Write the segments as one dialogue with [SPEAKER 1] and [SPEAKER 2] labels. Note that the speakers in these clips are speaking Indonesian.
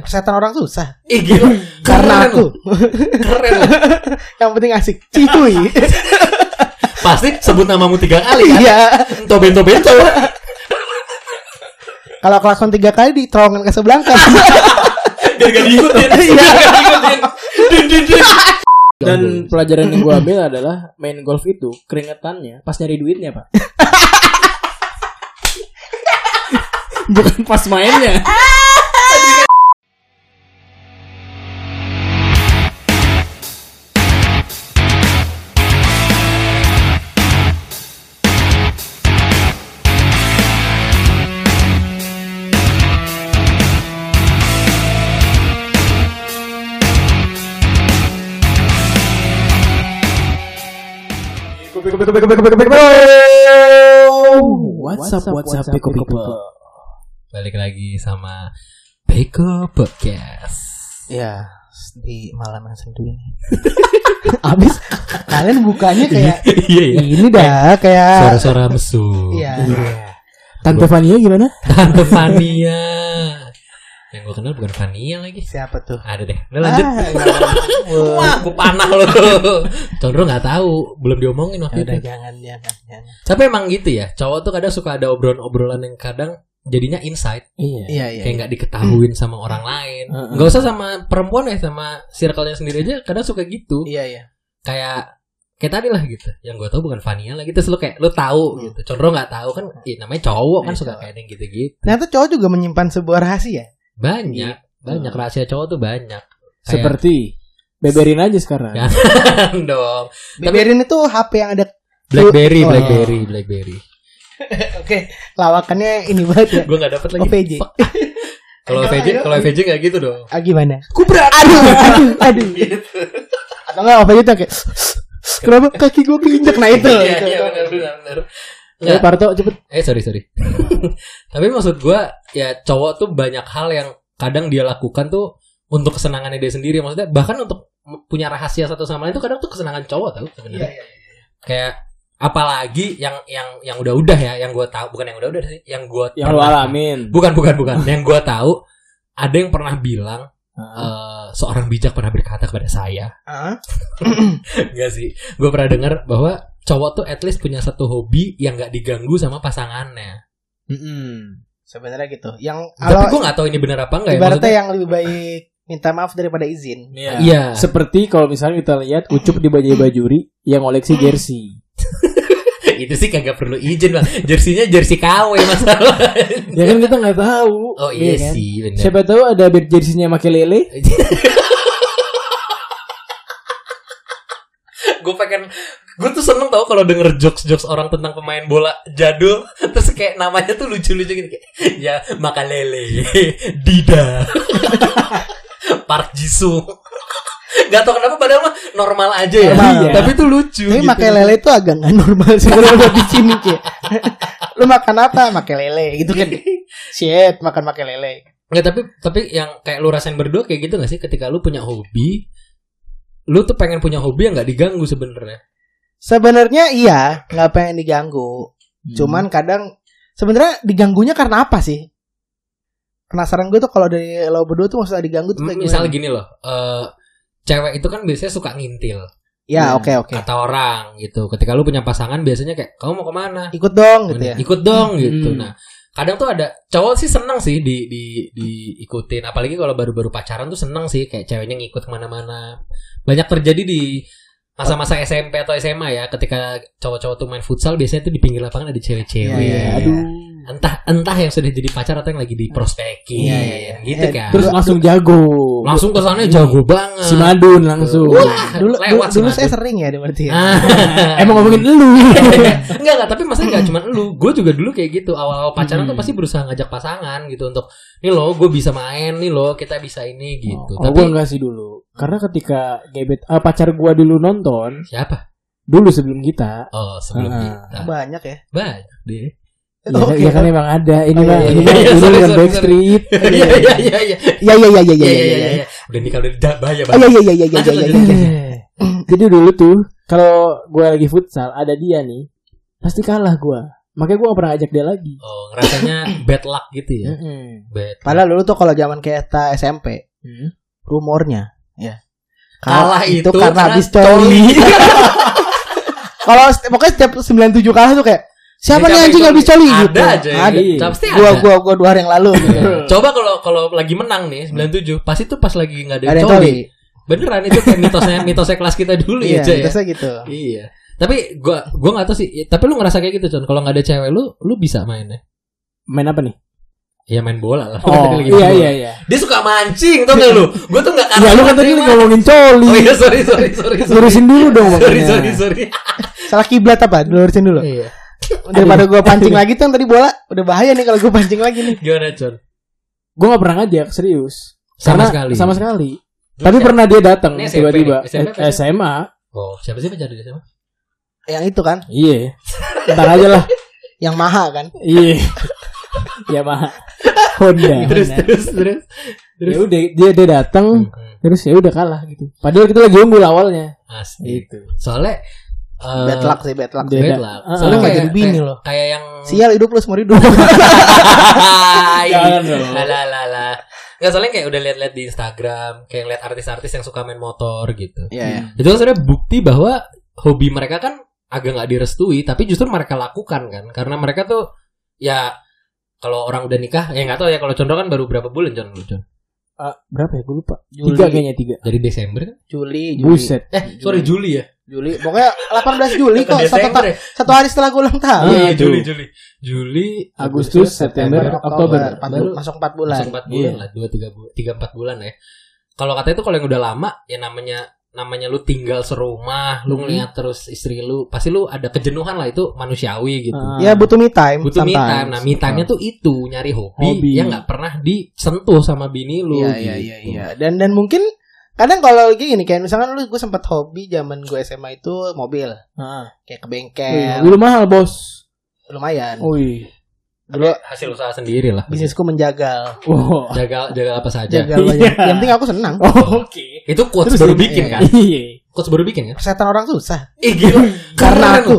[SPEAKER 1] kesehatan orang susah.
[SPEAKER 2] Ih gila.
[SPEAKER 1] Karena
[SPEAKER 2] Keren.
[SPEAKER 1] aku.
[SPEAKER 2] Keren.
[SPEAKER 1] yang penting asik. Cipuy.
[SPEAKER 2] Pasti sebut namamu tiga kali kan.
[SPEAKER 1] iya.
[SPEAKER 2] Ento bento bento.
[SPEAKER 1] Kalau klakson tiga kali di terowongan ke sebelah kan.
[SPEAKER 2] Biar gak diikutin.
[SPEAKER 1] Iya.
[SPEAKER 2] Biar gak diikutin. Din, din, din.
[SPEAKER 3] Dan pelajaran yang gue ambil adalah main golf itu keringetannya pas nyari duitnya pak. Bukan pas mainnya. WhatsApp WhatsApp Peko People.
[SPEAKER 2] Balik lagi sama Beko Podcast.
[SPEAKER 1] Iya. Di malam yang sendiri. Abis kalian bukanya kayak
[SPEAKER 2] Iya iya.
[SPEAKER 1] ini dah kayak
[SPEAKER 2] Suara-suara mesum.
[SPEAKER 1] Iya.
[SPEAKER 3] Tante Fania gimana?
[SPEAKER 2] Tante Fania. Yang gue kenal bukan Fania lagi.
[SPEAKER 1] Siapa tuh?
[SPEAKER 2] Ada deh. Udah lanjut.
[SPEAKER 1] Ah, iya.
[SPEAKER 2] Wah, gue panah lo tuh. Condro nggak tahu, belum diomongin
[SPEAKER 1] Ya
[SPEAKER 2] waktu
[SPEAKER 1] udah
[SPEAKER 2] itu.
[SPEAKER 1] jangan jangan jangan.
[SPEAKER 2] Tapi emang gitu ya, cowok tuh kadang suka ada obrolan-obrolan yang kadang jadinya insight,
[SPEAKER 3] Iya.
[SPEAKER 1] Iya iya.
[SPEAKER 2] kayak nggak diketahuin sama orang lain.
[SPEAKER 3] Heeh.
[SPEAKER 2] Nggak usah sama perempuan ya, sama circle-nya sendiri aja. Kadang suka gitu,
[SPEAKER 1] Iya iya.
[SPEAKER 2] kayak kayak tadi lah gitu. Yang gue tahu bukan Fania lah gitu, lu kayak lu tahu
[SPEAKER 1] Hmm.
[SPEAKER 2] gitu. Condro nggak tahu kan, ih, namanya cowok kan
[SPEAKER 1] Iya,
[SPEAKER 2] suka
[SPEAKER 1] cowok.
[SPEAKER 2] kayak yang gitu-gitu.
[SPEAKER 1] Ternyata cowok juga menyimpan sebuah rahasia.
[SPEAKER 2] Banyak,
[SPEAKER 1] Iya.
[SPEAKER 2] banyak rahasia cowok tuh banyak. Kayak-
[SPEAKER 3] Seperti beberin aja sekarang.
[SPEAKER 2] Ya. dong.
[SPEAKER 1] Beberin itu HP yang ada
[SPEAKER 2] Blackberry,
[SPEAKER 1] Oh.
[SPEAKER 2] Blackberry, Blackberry.
[SPEAKER 1] Oke, lawakannya ini banget ya.
[SPEAKER 2] Gue nggak dapet lagi.
[SPEAKER 1] OVJ.
[SPEAKER 2] Fuck. Kalau VJ, kalau VJ nggak gitu dong.
[SPEAKER 1] Ah, gimana? Kubrak. Aduh, aduh, aduh.
[SPEAKER 2] Gitu.
[SPEAKER 1] Atau enggak apa itu kayak Kenapa kaki gue keinjak nah itu?
[SPEAKER 2] Iya,
[SPEAKER 1] Itu.
[SPEAKER 2] iya benar benar benar.
[SPEAKER 3] Eh, Parto cepet.
[SPEAKER 2] Eh sorry sorry. Tapi maksud gue ya cowok tuh banyak hal yang kadang dia lakukan tuh untuk kesenangannya dia sendiri. Maksudnya bahkan untuk m- punya rahasia satu sama lain itu kadang tuh kesenangan cowok tau
[SPEAKER 1] Iya,
[SPEAKER 2] sebenarnya.
[SPEAKER 1] iya.
[SPEAKER 2] Kayak apalagi yang yang yang udah-udah ya, yang gue tahu bukan yang udah-udah sih, yang gue
[SPEAKER 3] Yang lo alamin.
[SPEAKER 2] Bukan bukan bukan. yang gue tahu ada yang pernah bilang
[SPEAKER 3] Heeh.
[SPEAKER 2] eh, seorang bijak pernah berkata kepada saya
[SPEAKER 1] Ah,
[SPEAKER 2] Enggak sih. Gue pernah dengar bahwa cowok tuh at least punya satu hobi yang nggak diganggu sama pasangannya.
[SPEAKER 3] Mm-mm.
[SPEAKER 1] Sebenarnya gitu. Yang
[SPEAKER 2] Tapi gue
[SPEAKER 1] kalau
[SPEAKER 2] nggak tahu ini benar apa enggak ya.
[SPEAKER 1] ibaratnya
[SPEAKER 2] Maksudnya,
[SPEAKER 1] yang lebih baik minta maaf daripada izin.
[SPEAKER 3] Iya.
[SPEAKER 2] Iya.
[SPEAKER 3] Seperti kalau misalnya kita lihat Ucup di Bajai Bajuri yang koleksi jersey.
[SPEAKER 2] itu sih kagak perlu izin lah. Jersinya jersey KW masalah.
[SPEAKER 3] ya kan kita nggak tahu.
[SPEAKER 2] Oh iya
[SPEAKER 3] kan?
[SPEAKER 2] sih benar.
[SPEAKER 3] Siapa tahu ada bir jersinya make lele.
[SPEAKER 2] gue pengen gue tuh seneng tau kalau denger jokes jokes orang tentang pemain bola jadul terus kayak namanya tuh lucu lucu gitu kayak ya Makalele Dida Park Jisoo Gak tau kenapa padahal mah normal aja ya
[SPEAKER 1] Normal. iya.
[SPEAKER 2] Tapi tuh lucu
[SPEAKER 1] Tapi
[SPEAKER 2] gitu.
[SPEAKER 1] pakai lele itu agak nggak normal sih kalau udah di sini kayak. Lu makan apa? Pakai lele gitu kan. Shit, makan pakai lele.
[SPEAKER 2] Nggak, tapi tapi yang kayak lu rasain berdua kayak gitu gak sih ketika lu punya hobi lu tuh pengen punya hobi yang gak diganggu sebenarnya
[SPEAKER 1] Sebenarnya iya, nggak pengen diganggu.
[SPEAKER 2] Hmm.
[SPEAKER 1] Cuman kadang sebenarnya diganggunya karena apa sih? Penasaran gue tuh kalau dari lo berdua tuh maksudnya diganggu tuh kayak gimana?
[SPEAKER 2] Misal gini loh eh, cewek itu kan biasanya suka ngintil gitu.
[SPEAKER 1] ya oke oke.
[SPEAKER 2] kata orang gitu. Ketika lu punya pasangan biasanya kayak kamu mau kemana?
[SPEAKER 1] Ikut dong gitu ya.
[SPEAKER 2] Ikut dong gitu.
[SPEAKER 3] Hmm.
[SPEAKER 2] Nah kadang tuh ada cowok sih seneng sih di di diikutin. Apalagi kalau baru-baru pacaran tuh seneng sih kayak ceweknya ngikut kemana-mana. Banyak terjadi di masa-masa SMP atau SMA ya ketika cowok-cowok tuh main futsal biasanya tuh di pinggir lapangan ada cewek-cewek.
[SPEAKER 1] Iya, iya,
[SPEAKER 3] Aduh.
[SPEAKER 2] Entah entah yang sudah jadi pacar atau yang lagi diprospekin
[SPEAKER 1] Iya, iya, iya.
[SPEAKER 2] gitu
[SPEAKER 1] Eh,
[SPEAKER 2] kan.
[SPEAKER 3] Terus langsung jago.
[SPEAKER 2] langsung kesannya jago banget.
[SPEAKER 3] si Madun langsung.
[SPEAKER 2] Wah,
[SPEAKER 1] Dulu dulu,
[SPEAKER 2] lewat
[SPEAKER 1] dulu
[SPEAKER 2] si
[SPEAKER 1] saya
[SPEAKER 2] Madun.
[SPEAKER 1] sering ya berarti. Ya.
[SPEAKER 2] Ah.
[SPEAKER 3] Emang ngomongin lu.
[SPEAKER 2] Gitu. Enggak enggak, tapi maksudnya enggak cuma lu. Gue juga dulu kayak gitu. Awal-awal pacaran tuh pasti berusaha ngajak pasangan gitu untuk nih loh, gue bisa main, nih loh, kita bisa ini gitu.
[SPEAKER 3] Oh,
[SPEAKER 2] tapi
[SPEAKER 3] gue enggak sih dulu. Karena ketika gebet ah, pacar gua dulu nonton
[SPEAKER 2] siapa?
[SPEAKER 3] dulu sebelum kita.
[SPEAKER 2] Oh, sebelum
[SPEAKER 3] Ah.
[SPEAKER 2] kita.
[SPEAKER 1] Banyak ya.
[SPEAKER 2] Banyak deh.
[SPEAKER 3] Ya, kan- ya kan emang ada ini
[SPEAKER 1] Oh, iya,
[SPEAKER 3] mah
[SPEAKER 1] iya,
[SPEAKER 3] ini
[SPEAKER 2] iya,
[SPEAKER 3] mah
[SPEAKER 2] iya,
[SPEAKER 3] ini
[SPEAKER 2] sorry,
[SPEAKER 3] bukan
[SPEAKER 2] sorry,
[SPEAKER 3] Backstreet.
[SPEAKER 2] Iya iya iya iya.
[SPEAKER 1] Ya ya ya ya ya
[SPEAKER 2] Iya
[SPEAKER 1] ya
[SPEAKER 2] iya
[SPEAKER 1] ya.
[SPEAKER 2] iya. Udah nikah udah dah, bahaya
[SPEAKER 1] Oh
[SPEAKER 2] banget.
[SPEAKER 1] ya ya ya ya ya ya, ya, ya, ya.
[SPEAKER 2] Iya.
[SPEAKER 3] Jadi dulu tuh kalau gua lagi futsal ada dia nih pasti kalah gua. Makanya gue gak pernah ajak dia lagi.
[SPEAKER 2] Oh, rasanya bad luck gitu ya.
[SPEAKER 3] Mm-mm.
[SPEAKER 2] Bad.
[SPEAKER 1] Padahal dulu tuh kalau zaman kita SMP,
[SPEAKER 3] Hmm.
[SPEAKER 1] rumornya ya.
[SPEAKER 2] Kalah itu karena
[SPEAKER 1] karena habis coli.
[SPEAKER 2] coli.
[SPEAKER 1] kalau st- pokoknya setiap 97 kalah tuh kayak siapa
[SPEAKER 2] Jadi
[SPEAKER 1] nih anjing
[SPEAKER 2] capek
[SPEAKER 1] habis coli
[SPEAKER 2] Ada
[SPEAKER 1] gitu.
[SPEAKER 2] aja. ya.
[SPEAKER 1] Ada.
[SPEAKER 2] Tapi Pasti ada. Iya.
[SPEAKER 1] Gua gua gua dua hari yang lalu gitu.
[SPEAKER 2] Coba kalau kalau lagi menang nih 97, pasti tuh pas lagi nggak ada,
[SPEAKER 1] Ada
[SPEAKER 2] yang
[SPEAKER 1] yang
[SPEAKER 2] coli.
[SPEAKER 1] coli.
[SPEAKER 2] Beneran itu kayak mitosnya mitosnya kelas kita dulu
[SPEAKER 1] Iya,
[SPEAKER 2] ya, Cah, ya.
[SPEAKER 1] biasanya gitu.
[SPEAKER 2] Iya. Tapi gua gua nggak tahu sih. Ya, Tapi lu ngerasa kayak gitu, Con. Kalau nggak ada cewek lu, lu bisa mainnya.
[SPEAKER 3] Main apa nih?
[SPEAKER 2] Ya main bola lah. Lu kan
[SPEAKER 3] Oh
[SPEAKER 2] tadi lagi
[SPEAKER 3] iya
[SPEAKER 2] main bola.
[SPEAKER 3] iya iya.
[SPEAKER 2] Dia suka mancing, tau gak lu? Gua tuh nggak
[SPEAKER 3] Ya lu kan tadi
[SPEAKER 2] terima.
[SPEAKER 3] ngomongin
[SPEAKER 2] Oh
[SPEAKER 3] coli.
[SPEAKER 2] iya, sorry sorry sorry. Sorry
[SPEAKER 3] Lurusin dulu dong
[SPEAKER 2] sorry
[SPEAKER 3] makanya.
[SPEAKER 2] sorry. sorry.
[SPEAKER 1] Salah kiblat apa? Lurusin dulu.
[SPEAKER 2] Iya.
[SPEAKER 1] Daripada gua pancing lagi tuh yang tadi bola udah bahaya nih kalau gua pancing lagi nih.
[SPEAKER 2] Gimana, Con?
[SPEAKER 3] Gue gak pernah ngajak serius.
[SPEAKER 2] Sama
[SPEAKER 3] Karena-
[SPEAKER 2] sekali.
[SPEAKER 3] Sama sekali. Tapi pernah dia datang
[SPEAKER 2] Ini SMP
[SPEAKER 3] tiba-tiba
[SPEAKER 2] nih, SMP apa
[SPEAKER 3] Eh, SMA.
[SPEAKER 2] Oh, siapa sih pacar dia sama?
[SPEAKER 1] Yang itu kan,
[SPEAKER 3] Iya. Ntar aja lah.
[SPEAKER 1] yang maha kan.
[SPEAKER 2] Eh.
[SPEAKER 3] Iya. Yamaha. Honda.
[SPEAKER 2] Terus terus terus. Hmm.
[SPEAKER 3] Ya udah dia dia datang terus ya udah kalah gitu. Padahal kita lagi unggul awalnya.
[SPEAKER 2] Asli. Soalnya eh,
[SPEAKER 1] Bad luck sih, bad luck.
[SPEAKER 3] Dia-
[SPEAKER 2] Bad luck.
[SPEAKER 3] Ah,
[SPEAKER 2] Soalnya
[SPEAKER 1] ah,
[SPEAKER 2] kayak,
[SPEAKER 1] jadi bini
[SPEAKER 2] kayak-
[SPEAKER 1] loh.
[SPEAKER 2] Kayak yang
[SPEAKER 1] Sial hidup lu seumur hidup.
[SPEAKER 2] Hai.
[SPEAKER 3] Jangan dong.
[SPEAKER 2] Lah lah lah. Enggak soalnya kayak udah lihat-lihat di Instagram, kayak lihat artis-artis yang suka main motor gitu.
[SPEAKER 1] Iya. iya.
[SPEAKER 2] Itu kan sebenarnya bukti bahwa hobi mereka kan agak nggak direstui, tapi justru mereka lakukan kan, karena mereka tuh ya kalau orang udah nikah, ya nggak tahu ya kalau Condro kan baru berapa bulan Con? Lu, Con?
[SPEAKER 3] Ah, berapa ya? Gue lupa.
[SPEAKER 1] Juli.
[SPEAKER 3] Tiga kayaknya tiga.
[SPEAKER 2] Dari Desember kan?
[SPEAKER 1] Juli, Juli.
[SPEAKER 3] Buset.
[SPEAKER 2] Eh, sorry Juli ya.
[SPEAKER 1] Juli. Pokoknya 18 Juli kok
[SPEAKER 2] Desember
[SPEAKER 1] satu, ta-
[SPEAKER 2] ya?
[SPEAKER 1] satu hari setelah gue ulang
[SPEAKER 2] Ah,
[SPEAKER 1] tahun.
[SPEAKER 2] iya,
[SPEAKER 3] itu.
[SPEAKER 2] Juli, Juli. Juli,
[SPEAKER 3] Agustus, September,
[SPEAKER 1] September,
[SPEAKER 3] Oktober.
[SPEAKER 1] Empat
[SPEAKER 2] Baru-
[SPEAKER 1] bul- masuk 4 bulan.
[SPEAKER 2] bulan. empat bulan
[SPEAKER 3] Iya.
[SPEAKER 2] lah, dua tiga bu- tiga empat bulan ya. Kalau katanya tuh kalau yang udah lama ya namanya namanya lu tinggal serumah, lu
[SPEAKER 3] Hmm.
[SPEAKER 2] ngeliat terus istri lu, pasti lu ada kejenuhan lah itu manusiawi gitu.
[SPEAKER 3] Ah.
[SPEAKER 1] Ya butuh me time.
[SPEAKER 2] Butuh me
[SPEAKER 1] sometimes.
[SPEAKER 2] time. Nah, me time-nya tuh itu nyari hobi,
[SPEAKER 3] Hobi.
[SPEAKER 2] yang nggak pernah disentuh sama bini
[SPEAKER 1] Iya
[SPEAKER 2] lu. gitu.
[SPEAKER 1] iya iya iya. Dan dan mungkin kadang kalau lagi gini kayak misalkan lu gue sempat hobi zaman gue SMA itu mobil
[SPEAKER 3] Ah.
[SPEAKER 1] kayak ke
[SPEAKER 3] Wih,
[SPEAKER 1] bengkel
[SPEAKER 3] Mobil mahal bos.
[SPEAKER 1] lumayan
[SPEAKER 3] Wih.
[SPEAKER 1] dulu
[SPEAKER 2] Hasil usaha sendiri lah.
[SPEAKER 1] bisnisku menjagal
[SPEAKER 3] Wow.
[SPEAKER 2] Jaga jaga apa saja.
[SPEAKER 1] jagal banyak yang penting aku senang
[SPEAKER 3] Oh. Oke.
[SPEAKER 2] Itu quotes
[SPEAKER 3] Terus
[SPEAKER 2] baru
[SPEAKER 3] ini-
[SPEAKER 2] bikin kan?
[SPEAKER 3] Iya.
[SPEAKER 2] Quotes baru bikin kan?
[SPEAKER 1] persetan orang susah
[SPEAKER 2] Eh gila.
[SPEAKER 1] karena
[SPEAKER 2] Keren lu.
[SPEAKER 1] aku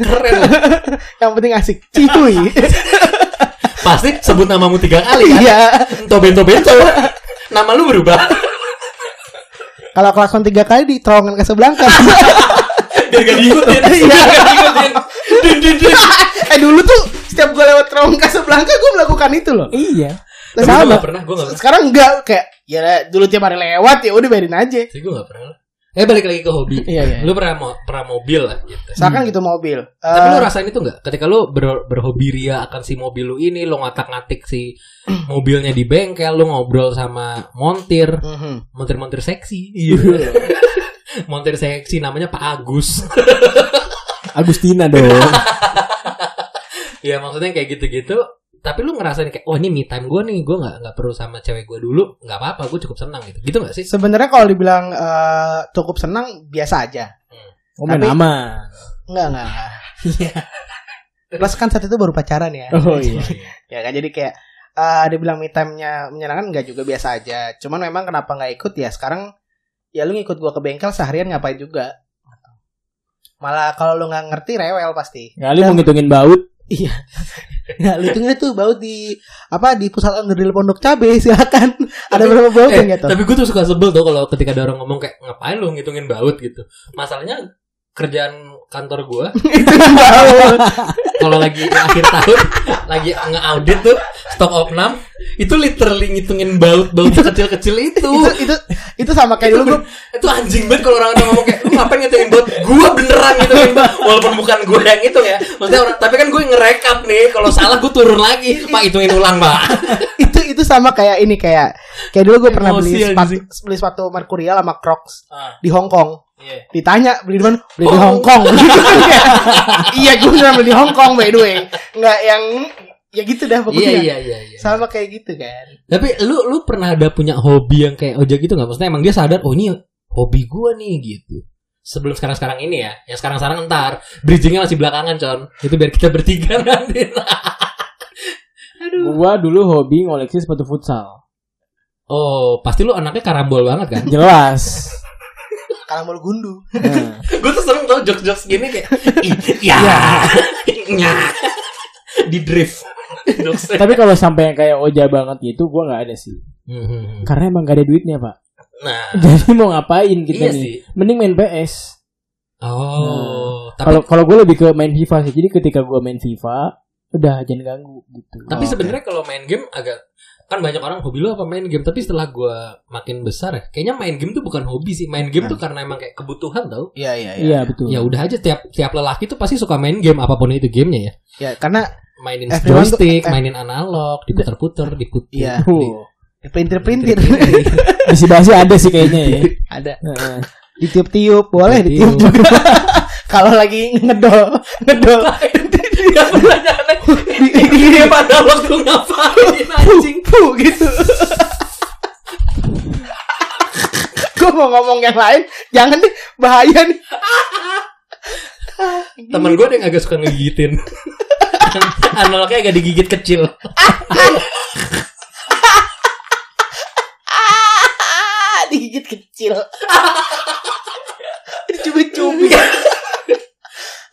[SPEAKER 2] Keren. lu.
[SPEAKER 1] yang penting asik cihuy
[SPEAKER 2] Pasti sebut namamu tiga kali kan?
[SPEAKER 1] iya
[SPEAKER 2] Toben Bento Nama lu berubah
[SPEAKER 1] kalau kelakon tiga kali di terowongan Casablanca
[SPEAKER 2] Biar gak diikutin Biar gak diikutin Din, din, din.
[SPEAKER 1] eh dulu tuh setiap gue lewat terowongan Casablanca gue melakukan itu loh
[SPEAKER 3] Iya.
[SPEAKER 1] Lah,
[SPEAKER 2] Tapi gua
[SPEAKER 1] sama
[SPEAKER 2] nggak pernah, gua nggak pernah.
[SPEAKER 1] sekarang enggak kayak ya lah, dulu tiap hari lewat ya udah biarin aja
[SPEAKER 2] Sih gue gak pernah Eh balik lagi ke hobi
[SPEAKER 1] Iya, iya.
[SPEAKER 2] Lu pernah, mo- pernah mobil lah gitu
[SPEAKER 1] misalkan gitu mobil
[SPEAKER 2] Tapi lu
[SPEAKER 1] Eh,
[SPEAKER 2] rasain itu gak? Ketika lu ber- berhobi ria akan si mobil lu ini Lu ngotak-ngatik si mobilnya di bengkel Lu ngobrol sama montir
[SPEAKER 1] mhm.
[SPEAKER 2] Montir-montir seksi Iya Montir seksi namanya Pak Agus
[SPEAKER 3] Agustina dong.
[SPEAKER 2] Ya maksudnya kayak gitu-gitu tapi lu ngerasain kayak wah ini me time gue nih gue nggak nggak perlu sama cewek gue dulu nggak apa-apa gue cukup senang gitu gitu nggak sih
[SPEAKER 1] Sebenarnya kalau dibilang eh, cukup senang biasa aja.
[SPEAKER 3] Oh, main
[SPEAKER 1] Tapi-
[SPEAKER 3] aman.
[SPEAKER 1] Enggak enggak. enggak. Iya. Plus kan saat itu baru pacaran ya.
[SPEAKER 3] Oh iya.
[SPEAKER 1] Ya kan jadi kayak eh dibilang me time-nya menyenangkan enggak juga biasa aja. Cuman memang kenapa nggak ikut ya sekarang ya lu ngikut gua ke bengkel seharian ngapain juga. Malah kalau lu nggak ngerti rewel pasti.
[SPEAKER 3] Kali mau ngitungin baut.
[SPEAKER 1] Ya lu tunggu tuh baut di apa di pusat onderdil Pondok Cabe silakan. Ada berapa baut
[SPEAKER 2] Eh,
[SPEAKER 1] yang gitu.
[SPEAKER 2] Tapi gue tuh suka sebel tuh kalau ketika ada orang ngomong kayak ngapain lu ngitungin baut gitu. Masalahnya kerjaan kantor gue kalau lagi akhir tahun lagi nge-audit tuh stok opnam itu literally ngitungin baut-baut kecil-kecil itu.
[SPEAKER 1] itu itu itu sama kayak dulu
[SPEAKER 2] Itu,
[SPEAKER 1] gua
[SPEAKER 2] itu anjing banget kalau orang udah ngomong kayak lu ngapain ngitungin baut? Gue beneran ngitungin baut walaupun bukan gue yang ngitung ya. Maksudnya orang tapi kan gue ngerekap nih kalau salah gue turun lagi. Pak hitungin ulang, Pak.
[SPEAKER 1] itu itu sama kayak ini kayak kayak dulu gue pernah beli
[SPEAKER 2] Emosi
[SPEAKER 1] sepatu
[SPEAKER 2] anjing.
[SPEAKER 1] beli sepatu Mercurial sama Crocs
[SPEAKER 2] Ah.
[SPEAKER 1] di Hong Kong.
[SPEAKER 2] Iya.
[SPEAKER 1] Ditanya beli di mana? Beli di
[SPEAKER 2] Oh.
[SPEAKER 1] Hong Kong. iya, gue beneran beli di Hong Kong by the way. Enggak yang ya gitu dah
[SPEAKER 2] Iya
[SPEAKER 1] pokoknya.
[SPEAKER 2] iya iya iya.
[SPEAKER 1] Sama kayak gitu kan.
[SPEAKER 2] Tapi lu lu pernah ada punya hobi yang kayak ojek gitu nggak? Maksudnya emang dia sadar oh ini hobi gua nih gitu. Sebelum sekarang-sekarang ini ya, yang sekarang-sekarang ntar bridgingnya masih belakangan con. Itu biar kita bertiga nanti. Aduh.
[SPEAKER 3] Gua dulu hobi ngoleksi sepatu futsal.
[SPEAKER 2] Oh pasti lu anaknya karambol banget kan?
[SPEAKER 3] Jelas.
[SPEAKER 1] kalang bolu gundu.
[SPEAKER 3] Nah,
[SPEAKER 2] Gue tuh sering tau jokes-jokes gini kayak "Ih, ya, ya, di drift. Jokesnya.
[SPEAKER 3] tapi kalau sampai yang kayak oja banget gitu gua nggak ada sih
[SPEAKER 2] Hmm.
[SPEAKER 3] karena emang gak ada duitnya pak
[SPEAKER 2] Nah,
[SPEAKER 3] jadi mau ngapain
[SPEAKER 2] iya
[SPEAKER 3] kita nih
[SPEAKER 2] sih.
[SPEAKER 3] mending main PS
[SPEAKER 2] Oh, tapi
[SPEAKER 3] kalau kalau gue lebih ke main FIFA sih jadi ketika gue main FIFA udah jangan ganggu gitu
[SPEAKER 2] tapi
[SPEAKER 1] Oh, oke.
[SPEAKER 2] sebenarnya kalau main game agak kan banyak orang hobi lo apa main game tapi setelah gua makin besar ya kayaknya main game tuh bukan hobi sih main game
[SPEAKER 1] Nah.
[SPEAKER 2] tuh karena emang kayak kebutuhan tau
[SPEAKER 1] Iya iya iya.
[SPEAKER 3] iya betul
[SPEAKER 2] ya udah aja tiap tiap lelaki tuh pasti suka main game apapun itu gamenya ya
[SPEAKER 1] Ya karena
[SPEAKER 2] mainin
[SPEAKER 1] Everyone tuh- eh.
[SPEAKER 2] joystick mainin analog diputer-puter diputer
[SPEAKER 1] Iya.
[SPEAKER 3] Oh,
[SPEAKER 1] printer-printer
[SPEAKER 3] basi basi ada sih kayaknya ya
[SPEAKER 1] ada
[SPEAKER 3] Heeh.
[SPEAKER 1] ditiup-tiup boleh
[SPEAKER 2] Ditiup.
[SPEAKER 1] ditiup iya, juga. Kalau lagi ngedol, ngedol.
[SPEAKER 2] Dia pertanyaannya Dia pada waktu ngapain anjing
[SPEAKER 1] Pu gitu. Gue mau ngomong yang lain, jangan deh bahaya nih.
[SPEAKER 2] Temen gue ada yang agak suka ngegigitin Analognya agak digigit kecil
[SPEAKER 1] Ah, digigit kecil. Dicubit-cubit.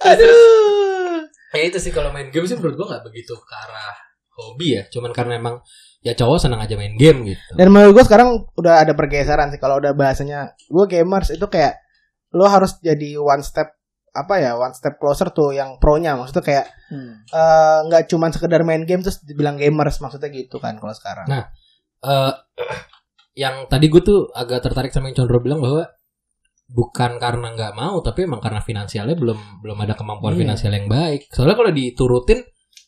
[SPEAKER 1] Aduh.
[SPEAKER 2] Ya itu sih kalau main game sih menurut gue gak begitu ke arah hobi ya Cuman karena emang ya cowok senang aja main game gitu
[SPEAKER 1] Dan menurut gue sekarang udah ada pergeseran sih kalau udah bahasanya gue gamers itu kayak lo harus jadi one step apa ya one step closer tuh yang pro-nya maksudnya kayak
[SPEAKER 3] Hmm.
[SPEAKER 1] eh, nggak cuman sekedar main game terus dibilang gamers maksudnya gitu kan kalau sekarang.
[SPEAKER 2] Nah. Eh, Yang tadi gue tuh agak tertarik sama yang Condro bilang bahwa Bukan karena nggak mau Tapi emang karena finansialnya belum belum ada kemampuan
[SPEAKER 3] Iya.
[SPEAKER 2] finansial yang baik Soalnya kalau diturutin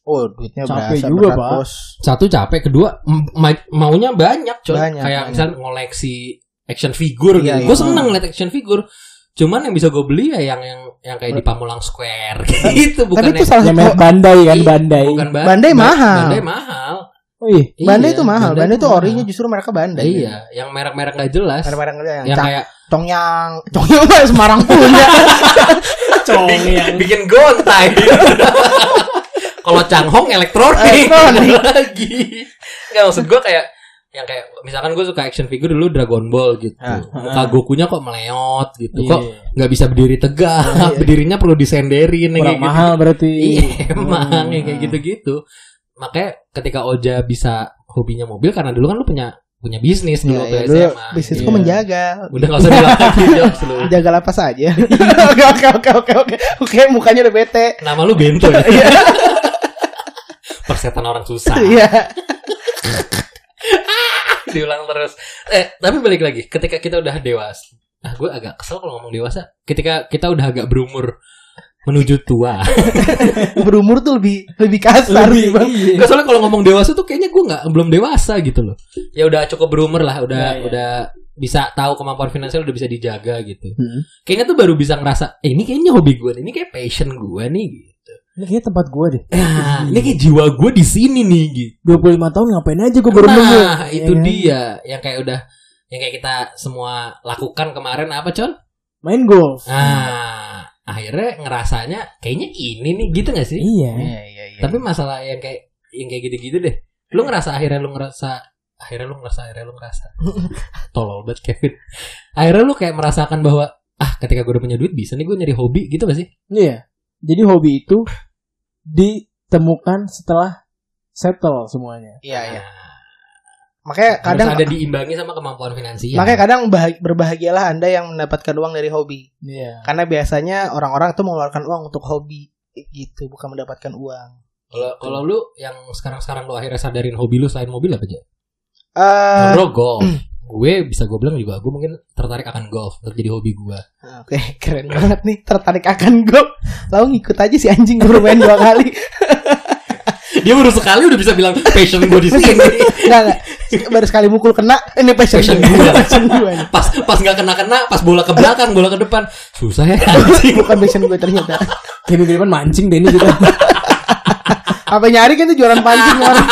[SPEAKER 1] Oh duitnya
[SPEAKER 3] Capek
[SPEAKER 1] berasa
[SPEAKER 3] juga,
[SPEAKER 1] berat,
[SPEAKER 3] Pak.
[SPEAKER 1] bos.
[SPEAKER 2] satu capek kedua m- ma- maunya banyak coy
[SPEAKER 1] Banyak,
[SPEAKER 2] kayak
[SPEAKER 1] banyak.
[SPEAKER 2] misalnya ngoleksi action figure
[SPEAKER 1] Iya,
[SPEAKER 2] gitu
[SPEAKER 1] iya.
[SPEAKER 2] gue seneng ngeliat action figure cuman yang bisa gue beli ya yang yang yang kayak di Pamulang Square gitu bukan
[SPEAKER 1] Tapi itu
[SPEAKER 2] yang-
[SPEAKER 1] salah
[SPEAKER 3] yang
[SPEAKER 1] satu
[SPEAKER 3] merek bandai kan
[SPEAKER 2] Iya,
[SPEAKER 3] bandai Oh
[SPEAKER 2] bukan ba-
[SPEAKER 1] Bandai
[SPEAKER 2] ba-
[SPEAKER 1] mahal.
[SPEAKER 2] bandai mahal
[SPEAKER 3] wih
[SPEAKER 2] Iya,
[SPEAKER 1] bandai itu mahal. Bandai itu
[SPEAKER 2] mahal.
[SPEAKER 1] orinya justru mereka bandai.
[SPEAKER 2] iya yang merek-merek gak jelas
[SPEAKER 1] Merek-merek aja yang,
[SPEAKER 2] yang
[SPEAKER 1] cang-
[SPEAKER 2] kayak
[SPEAKER 1] Congyang, Congyang mah Semarang ya. punya.
[SPEAKER 2] bikin, bikin gontai kalau Changhong elektronik
[SPEAKER 1] Elektronik.
[SPEAKER 2] lagi nggak maksud gue kayak yang kayak misalkan gue suka action figure dulu Dragon Ball gitu
[SPEAKER 1] Ah,
[SPEAKER 2] muka Gokunya kok meleot gitu
[SPEAKER 3] Iya.
[SPEAKER 2] kok nggak bisa berdiri tegak
[SPEAKER 1] Iya.
[SPEAKER 2] berdirinya perlu disenderin yang
[SPEAKER 3] kurang
[SPEAKER 2] kayak
[SPEAKER 3] mahal berarti
[SPEAKER 2] gitu. iya emang yang
[SPEAKER 1] Hmm.
[SPEAKER 2] kayak gitu-gitu makanya ketika Oja bisa hobinya mobil karena dulu kan lu punya punya bisnis
[SPEAKER 1] Iya,
[SPEAKER 2] dulu waktu
[SPEAKER 1] iya, dulu
[SPEAKER 2] SMA
[SPEAKER 1] bisnis
[SPEAKER 3] Iya.
[SPEAKER 1] kok menjaga.
[SPEAKER 2] gitu. udah nggak usah bilang lagi jokes lu
[SPEAKER 1] Menjaga lapas aja. Oke oke oke oke oke. Oke mukanya udah bete.
[SPEAKER 2] nama lu Bento ya? persetan orang susah
[SPEAKER 1] Iya.
[SPEAKER 2] diulang terus eh tapi balik lagi ketika kita udah dewasa nah gue agak kesel kalau ngomong dewasa ketika kita udah agak berumur menuju tua
[SPEAKER 1] Berumur tuh lebih lebih kasar sih, Bang.
[SPEAKER 2] Enggak Iya, soalnya kalau ngomong dewasa tuh kayaknya gue nggak belum dewasa gitu loh ya udah cukup berumur lah udah
[SPEAKER 3] Iya, iya.
[SPEAKER 2] udah bisa tahu kemampuan finansial udah bisa dijaga gitu
[SPEAKER 3] Hmm.
[SPEAKER 2] kayaknya tuh baru bisa ngerasa eh, ini kayaknya hobi gue nih ini kayak passion gue nih gitu
[SPEAKER 3] ini kayaknya tempat gue deh
[SPEAKER 2] nah, ini kayak jiwa gue di sini nih gitu
[SPEAKER 3] 25 tahun ngapain aja gue baru nemu
[SPEAKER 2] nah itu
[SPEAKER 3] Iya kan?
[SPEAKER 2] dia yang kayak udah yang kayak kita semua lakukan kemarin apa con
[SPEAKER 3] main golf
[SPEAKER 2] Nah, akhirnya ngerasanya kayaknya ini nih gitu gak sih?
[SPEAKER 3] iya
[SPEAKER 1] iya iya.
[SPEAKER 2] Tapi masalah yang kayak yang kayak gitu-gitu deh. Lu ngerasa akhirnya lu ngerasa akhirnya lu ngerasa akhirnya lu ngerasa. Tolol banget Kevin. Akhirnya lu kayak merasakan bahwa ah ketika gue udah punya duit bisa nih gue nyari hobi gitu gak sih?
[SPEAKER 3] iya jadi hobi itu ditemukan setelah settle semuanya
[SPEAKER 1] iya iya.
[SPEAKER 2] Nah,
[SPEAKER 1] Makanya Eh, kadang
[SPEAKER 2] harus ada diimbangi sama kemampuan finansial.
[SPEAKER 1] makanya kadang bahag- berbahagialah Anda yang mendapatkan uang dari hobi.
[SPEAKER 3] iya
[SPEAKER 1] Karena biasanya orang-orang tuh mengeluarkan uang untuk hobi gitu, bukan mendapatkan uang.
[SPEAKER 2] kalau kalau lu yang sekarang-sekarang lu akhirnya sadarin hobi lu selain mobil apa aja?
[SPEAKER 1] Eh,
[SPEAKER 2] Bro, golf. gue bisa gue bilang juga gue mungkin tertarik akan golf untuk jadi hobi gue.
[SPEAKER 1] oke, keren banget nih tertarik akan gue. Lalu ngikut aja si anjing baru main dua kali.
[SPEAKER 2] Dia baru sekali udah bisa bilang passion gue di sini.
[SPEAKER 1] Enggak, enggak. Baru sekali mukul kena, ini passion,
[SPEAKER 2] Passion
[SPEAKER 1] gua.
[SPEAKER 2] gua.
[SPEAKER 1] passion gua nih.
[SPEAKER 2] Pas pas nggak kena kena, pas bola ke belakang, bola ke depan, susah ya anjing.
[SPEAKER 1] Bukan passion gue ternyata.
[SPEAKER 3] kini depan mancing deh ini kita
[SPEAKER 1] Apa nyari kan tuh jualan pancing orang.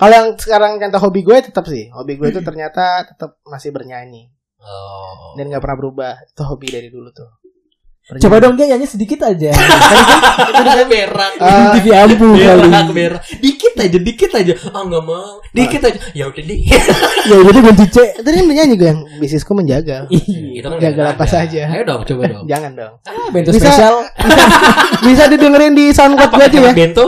[SPEAKER 1] Kalau yang sekarang contoh hobi gue tetap sih, hobi gue itu ternyata tetap masih bernyanyi
[SPEAKER 2] Oh.
[SPEAKER 1] dan nggak pernah berubah. Itu hobi dari dulu tuh. Bernyanyi.
[SPEAKER 3] coba dong dia nyanyi sedikit aja
[SPEAKER 2] Berak.
[SPEAKER 1] Eh,
[SPEAKER 2] Ah.
[SPEAKER 3] TV ampuh kali
[SPEAKER 2] Iya.
[SPEAKER 1] iya.
[SPEAKER 2] Berak, berak. Dikit aja, dikit aja. Ah nggak mau, dikit aja. Ya udah deh.
[SPEAKER 3] ya jadi kunci C
[SPEAKER 1] Tadi kan penyanyi juga yang bisnisku menjaga.
[SPEAKER 2] Itu kan
[SPEAKER 1] Jaga
[SPEAKER 2] nggak ada.
[SPEAKER 1] lapas aja. Iya,
[SPEAKER 2] Ayo dong, coba dong.
[SPEAKER 1] Jangan dong.
[SPEAKER 3] bento
[SPEAKER 1] Bisa-
[SPEAKER 3] spesial
[SPEAKER 1] Bisa didengerin di SoundCloud gue
[SPEAKER 2] Pakai
[SPEAKER 1] aja
[SPEAKER 2] celana
[SPEAKER 1] ya.
[SPEAKER 2] Bento.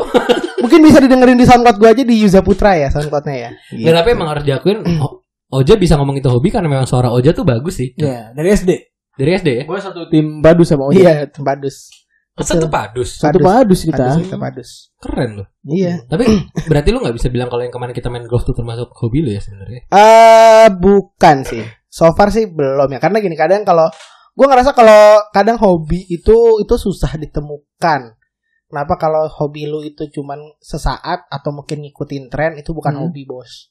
[SPEAKER 1] Mungkin bisa didengerin di SoundCloud gue aja di Yuza Putra ya SoundCloudnya ya.
[SPEAKER 2] Nggak tapi emang harus diakuin.
[SPEAKER 1] Hmm.
[SPEAKER 2] O- Oja bisa ngomong itu hobi karena memang suara Oja tuh bagus sih.
[SPEAKER 1] Iya.
[SPEAKER 3] ya dari SD
[SPEAKER 2] Dari SD ya.
[SPEAKER 3] gue satu tim badu
[SPEAKER 1] Oh
[SPEAKER 3] sama Oja
[SPEAKER 1] iya, padus.
[SPEAKER 2] Masa tuh padus.
[SPEAKER 3] satu badu sih
[SPEAKER 1] Padus,
[SPEAKER 3] kita
[SPEAKER 1] kita padus.
[SPEAKER 2] Keren loh.
[SPEAKER 1] Iya.
[SPEAKER 2] Tapi berarti lu nggak bisa bilang kalau yang kemarin kita main golf tuh termasuk hobi lu ya sebenarnya.
[SPEAKER 1] Eh bukan sih. So far sih belum ya. Karena gini kadang kalau gue ngerasa kalau kadang hobi itu itu susah ditemukan. Kenapa kalau hobi lu itu cuman sesaat atau mungkin ngikutin tren itu bukan
[SPEAKER 3] Hmm.
[SPEAKER 1] hobi bos